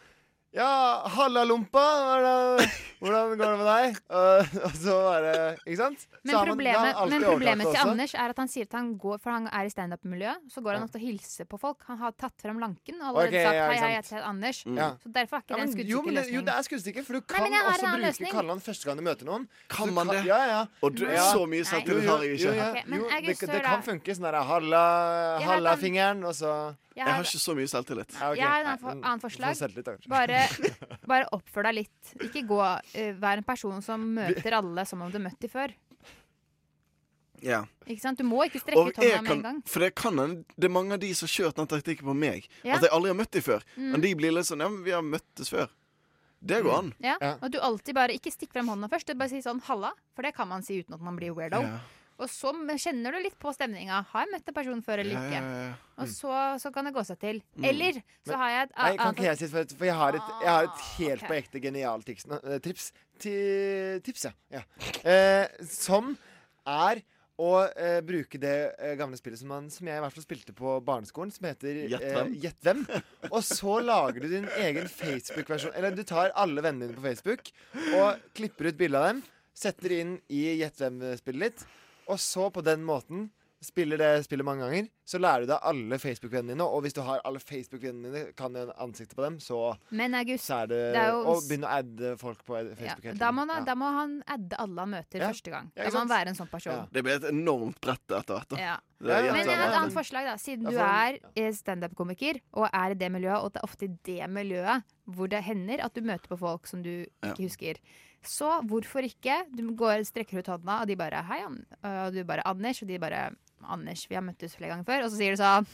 ja, halla lompa! Hvordan, hvordan går det med deg? Og, og så bare Ikke sant? Så
Men
har man- da har
problemet,
man alltid
men
overtatt
problemet
det
til
også.
Anders er at han sier at han går For han er i standup-miljøet, så går han
Ja.
ofte og hilser på folk. Han har tatt frem lanken og allerede
Ok,
sagt
ja,
hei,
ikke
hei, jeg
sant.
heter Anders.
Mm. Ja.
Så derfor er ikke
Ja,
det en
men jo,
skuddsikker
men det-
løsning.
jo, det er skuddsikker, for du kan
men jeg har en
også
annen
bruke
løsning.
kallenavn første gang du møter noen. Kan
man det?
Ja, ja.
Og du-
ja.
så mye selvtillit
Jo, jo,
har jeg ikke.
Jo, ja.
Ok,
men
jo det,
August,
det
hør
kan
da.
funke sånn derre halla,
Jeg har
halla
den-
fingeren, og så
Jeg har- Jeg har ikke
så mye selvtillit.
Jeg har en annen, for, annen forslag. Bare,
<laughs>
bare oppfør deg litt. Ikke gå, eh, vær en person som møter alle som om du møtte dem før.
Ja.
Ikke sant? Du må ikke strekke
Og
ut
jeg
hånda med en
kan,
gang.
for det kan hende det er mange av de som har kjørt den taktikken på meg.
Ja.
At jeg aldri har møtt dem før.
Mm.
Men de blir litt sånn Ja, men vi har møttes før. Det går an.
Ja, og at du alltid bare Ikke stikk frem hånda først. Bare si sånn 'halla', for det kan man si uten at man blir weirdo.
Ja.
Og så m- kjenner du litt på stemninga. Har jeg møtt en person før eller
Ja,
ikke?
ja, ja, ja.
Og så, så kan det gå seg til.
Mm.
Eller så
Men-
har jeg et
Nei, kan
annet- Ah,
ikke jeg si det, for, for jeg har et, jeg har et helt
ok.
på ekte genialt tips, nå, eh, tips, ti- tips ja. ja. Eh, som er å eh, bruke det eh, gamle spillet som, man, som jeg i hvert fall spilte på barneskolen, som heter
Gjett
eh,
hvem.
Gjett hvem. Og så lager du din egen Facebook-versjon. Eller du tar alle vennene dine på Facebook og klipper ut bilde av dem, setter inn i Gjett hvem-spillet ditt, og så på den måten Spiller det spillet mange ganger, så lærer du deg alle Facebook-vennene dine. Og hvis du har alle Facebook-vennene dine, kan du ansiktet på dem, så
Men August,
så er det,
det er jo-
å begynne å adde folk på Facebook.
ja,
hele tiden.
da, må han,
Ja.
da må han adde alle han møter
Ja.
første gang.
Ja,
Da
ikke
må han
sant?
være en sånn person.
Det blir et enormt brett etter hvert. da.
Ja.
Det
Men
er jævla
jeg har et
bra.
annet forslag, da. Siden
Ja,
du
for-
er eh, standup-komiker og er i det miljøet, og det er ofte i det miljøet hvor det hender at du møter på folk som du
Ja.
ikke husker. Så hvorfor ikke? Du går, strekker ut hånda, og de bare 'Hei, An og du bare 'Anders', og de bare 'Anders, vi har møttes flere ganger før', og så sier du sånn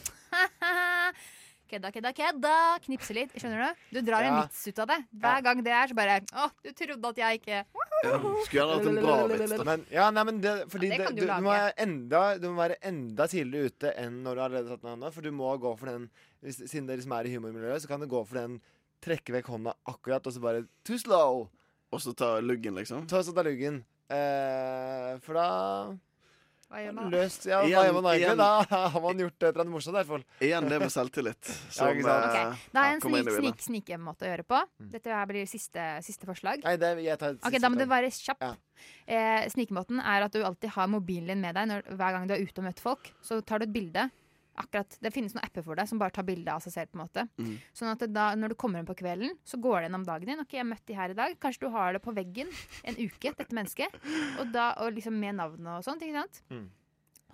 Kødda, kødda, kødda! Knipse litt. Skjønner du? Du drar en
Ja.
vits ut av det. Hver gang det er, så bare Å, du trodde at jeg ikke
Ja, Skulle gjerne hatt en bra vits. da.
Men, ja, nei, men det, fordi
Ja, det
det
kan
du,
du
du,
lage.
må være enda, du må være enda tidligere ute enn når du har allerede tatt med hånda. For du må gå for den hvis, Siden dere som er i humormiljøet, så kan du gå for den trekke vekk hånda akkurat, og så bare too slow.
Og så ta luggen, liksom.
Ta så ta luggen. Eh, for da
Hva gjør
Løst, ja, hva
Igjen-
gjør man egentlig?
igjen-
Da har man gjort et eller annet morsomt, i hvert fall.
Igjen det med selvtillit. Som, eh,
ikke sant? Ok,
Da har jeg en
kommer inn Mm.
snik,
i bildet.
snik, snikemåte å gjøre på. Dette her blir siste, siste forslag.
Nei, det, jeg tar et
Ok,
siste
Da må du
forslag.
være kjapp. Eh, snikemåten er at du alltid har mobilen din med deg når, hver gang du er ute og møter folk. Så tar du et bilde. Akkurat, Det finnes noen apper for deg som bare tar bilde av seg selv. på en måte
Mm.
Sånn at det da, når du kommer hjem på kvelden, så går du gjennom dagen din. Ok, jeg møtte de her i dag Kanskje du har det på veggen en uke, dette mennesket. Og da, og liksom med navnet og sånt. ikke sant?
Mm.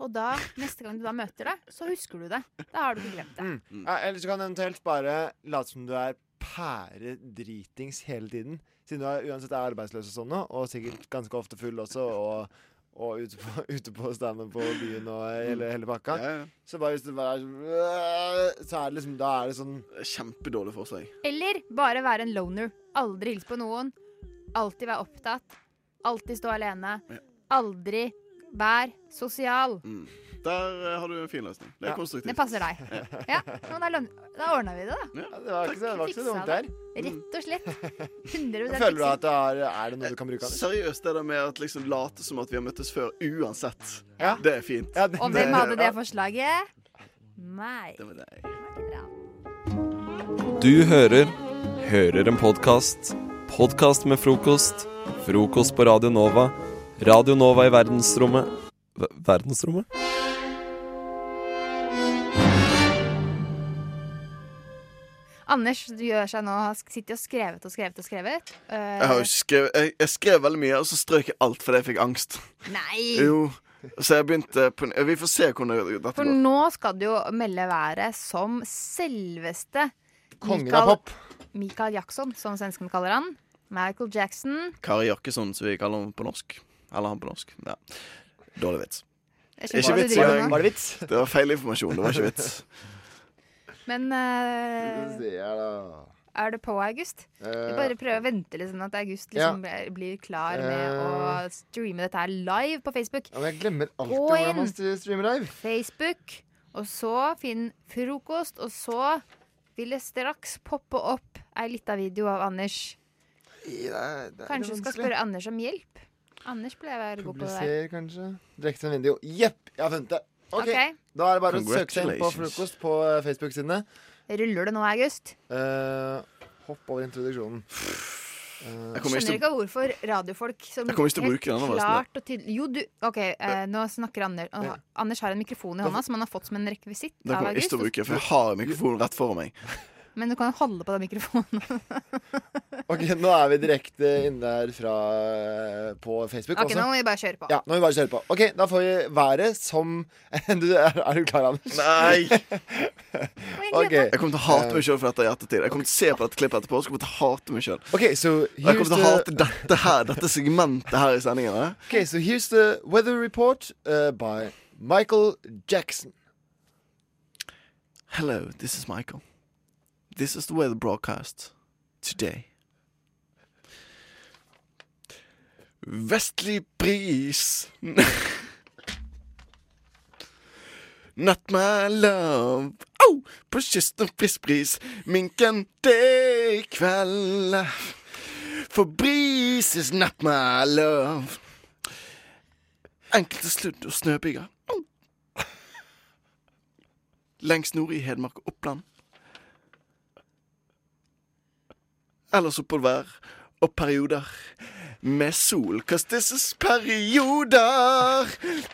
Og da, neste gang du da møter det, så husker du det. Da har du ikke glemt det.
Mm. Ja, eller så kan du eventuelt bare late som du er pæredritings hele tiden. Siden du er, uansett er arbeidsløs og sånn, nå, og sikkert ganske ofte full også, og, og ute på, <laughs> ute på standen på byen og hele, hele pakka. Så bare hvis du bare er sånn Så er det liksom Da er det sånn
Kjempedårlig forslag.
Eller bare være en loner. Aldri hilse på noen. Alltid være opptatt. Alltid stå alene. Aldri vær sosial.
Mm. Der eh, har du en fin løsning. Det er
Ja.
konstruktivt.
Det passer deg.
Ja.
<laughs> Ja, sånn men da, løn- da ordna vi det, da.
Ja, Mm.
det var ikke så- det var ikke så dumt der.
Rett og
<laughs>
slett. 100
Føler du at det er, er det noe du kan bruke? Anders?
Seriøst, det der med at liksom late som at vi har møttes før uansett. Det er fint.
Og hvem hadde det forslaget? Meg.
Det var deg.
Du hører Hører en podkast. Podkast med frokost. Frokost på Radio Nova. Radio Nova i verdensrommet Ver- Verdensrommet?
Anders du gjør seg nå, har sk- sitter og skrevet og skrevet og skrevet. Eh,
Jeg, har jo skrevet, jeg, jeg skrev veldig mye, og så strøk jeg alt fordi jeg fikk angst.
Nei!
Jo, Så jeg begynte på en- Vi får se hvordan det- dette
For
går.
nå skal du jo melde været som selveste
Kongen
Mikael-
av pop.
Mikael Jackson, som svenskene kaller han. Michael Jackson.
Kari Jakkesson, som vi kaller henne på norsk. Eller han på norsk. Ja. Dårlig vits.
Jeg skjønner hva du driver
Jørgen.
med.
Var det vits?
Det var feil informasjon. Det var ikke vits.
Men eh, er du på, August? Vi bare prøver å vente litt, sånn at August
Ja.
liksom ble- blir klar med å streame dette her live på Facebook.
Ja, men jeg glemmer alltid
Gå
hvordan man
inn
streamer live.
Facebook, og så finn frokost, og så vil det straks poppe opp ei lita video av Anders. Kanskje du skal spørre Anders om hjelp? Anders pleier å være god på det der.
Publiser, kanskje. Direkte en video. Jepp, jeg har funnet det! Ok,
Ok.
Da er det bare å søke seg inn på
Congratulations.
frokost på eh, Facebook-sidene.
Ruller det nå, August?
Eh, hopp over introduksjonen. Eh,
Jeg kommer
Skjønner ikke hvorfor radiofolk som
Jeg kommer ikke til å
helt
bruke denne versjonen.
klart og tydelig Jo, du OK, eh, nå snakker Anders. og
Ja.
Anders har en mikrofon i hånda som han har fått som en rekvisitt
Den
av
kommer jeg ikke
August.
til å bruke, for jeg har mikrofonen rett foran meg.
Men du kan holde på den mikrofonen.
<laughs> Ok, Nå er vi direkte inne der fra eh, på Facebook.
OK,
også.
nå må vi bare kjøre på.
Ja, nå må vi bare kjøre på. Ok, Da får vi været som <laughs> du, er, er du klar, Anders?
Nei!
Ok.
Jeg kommer til å hate meg sjøl for dette i ettertid. Jeg kommer til å se på dette klippet etterpå og så kommer jeg til å hate meg selv.
Okay, so
Og jeg
here's
kommer til å
the-
hate dette her, dette segmentet her i sendingen. eh.
Okay, so here's the weather report uh, by Michael Jackson.
Hello, this is Michael. This is the weather broadcast today. Vestlig bris. <laughs> Not my love. Au! På kysten frisk bris. Minken, det er kveld. For bris is not my love. Enkelte sludd- og snøbyger. Au! Lengst nord i Hedmark og Oppland. Ellers oppholdsvær og perioder med sol. Cause this is perioder.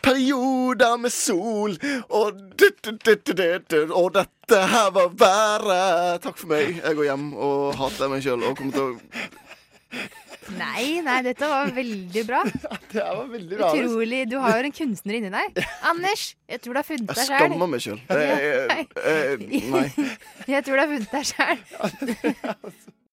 Perioder med sol. Og, du, du, du, du, du, du. og dette her var været. Takk for meg. Jeg går hjem og hater meg sjøl og kommer til å
Nei, nei, dette var veldig
<laughs>
bra.
Det var veldig
bra, Anders.
Utrolig. Du har jo en kunstner inni
<laughs>
deg. Anders, jeg tror du har funnet
Jeg
deg sjæl.
skammer meg
Eh,
sjøl. Nei.
<laughs> Jeg tror du har funnet deg sjæl.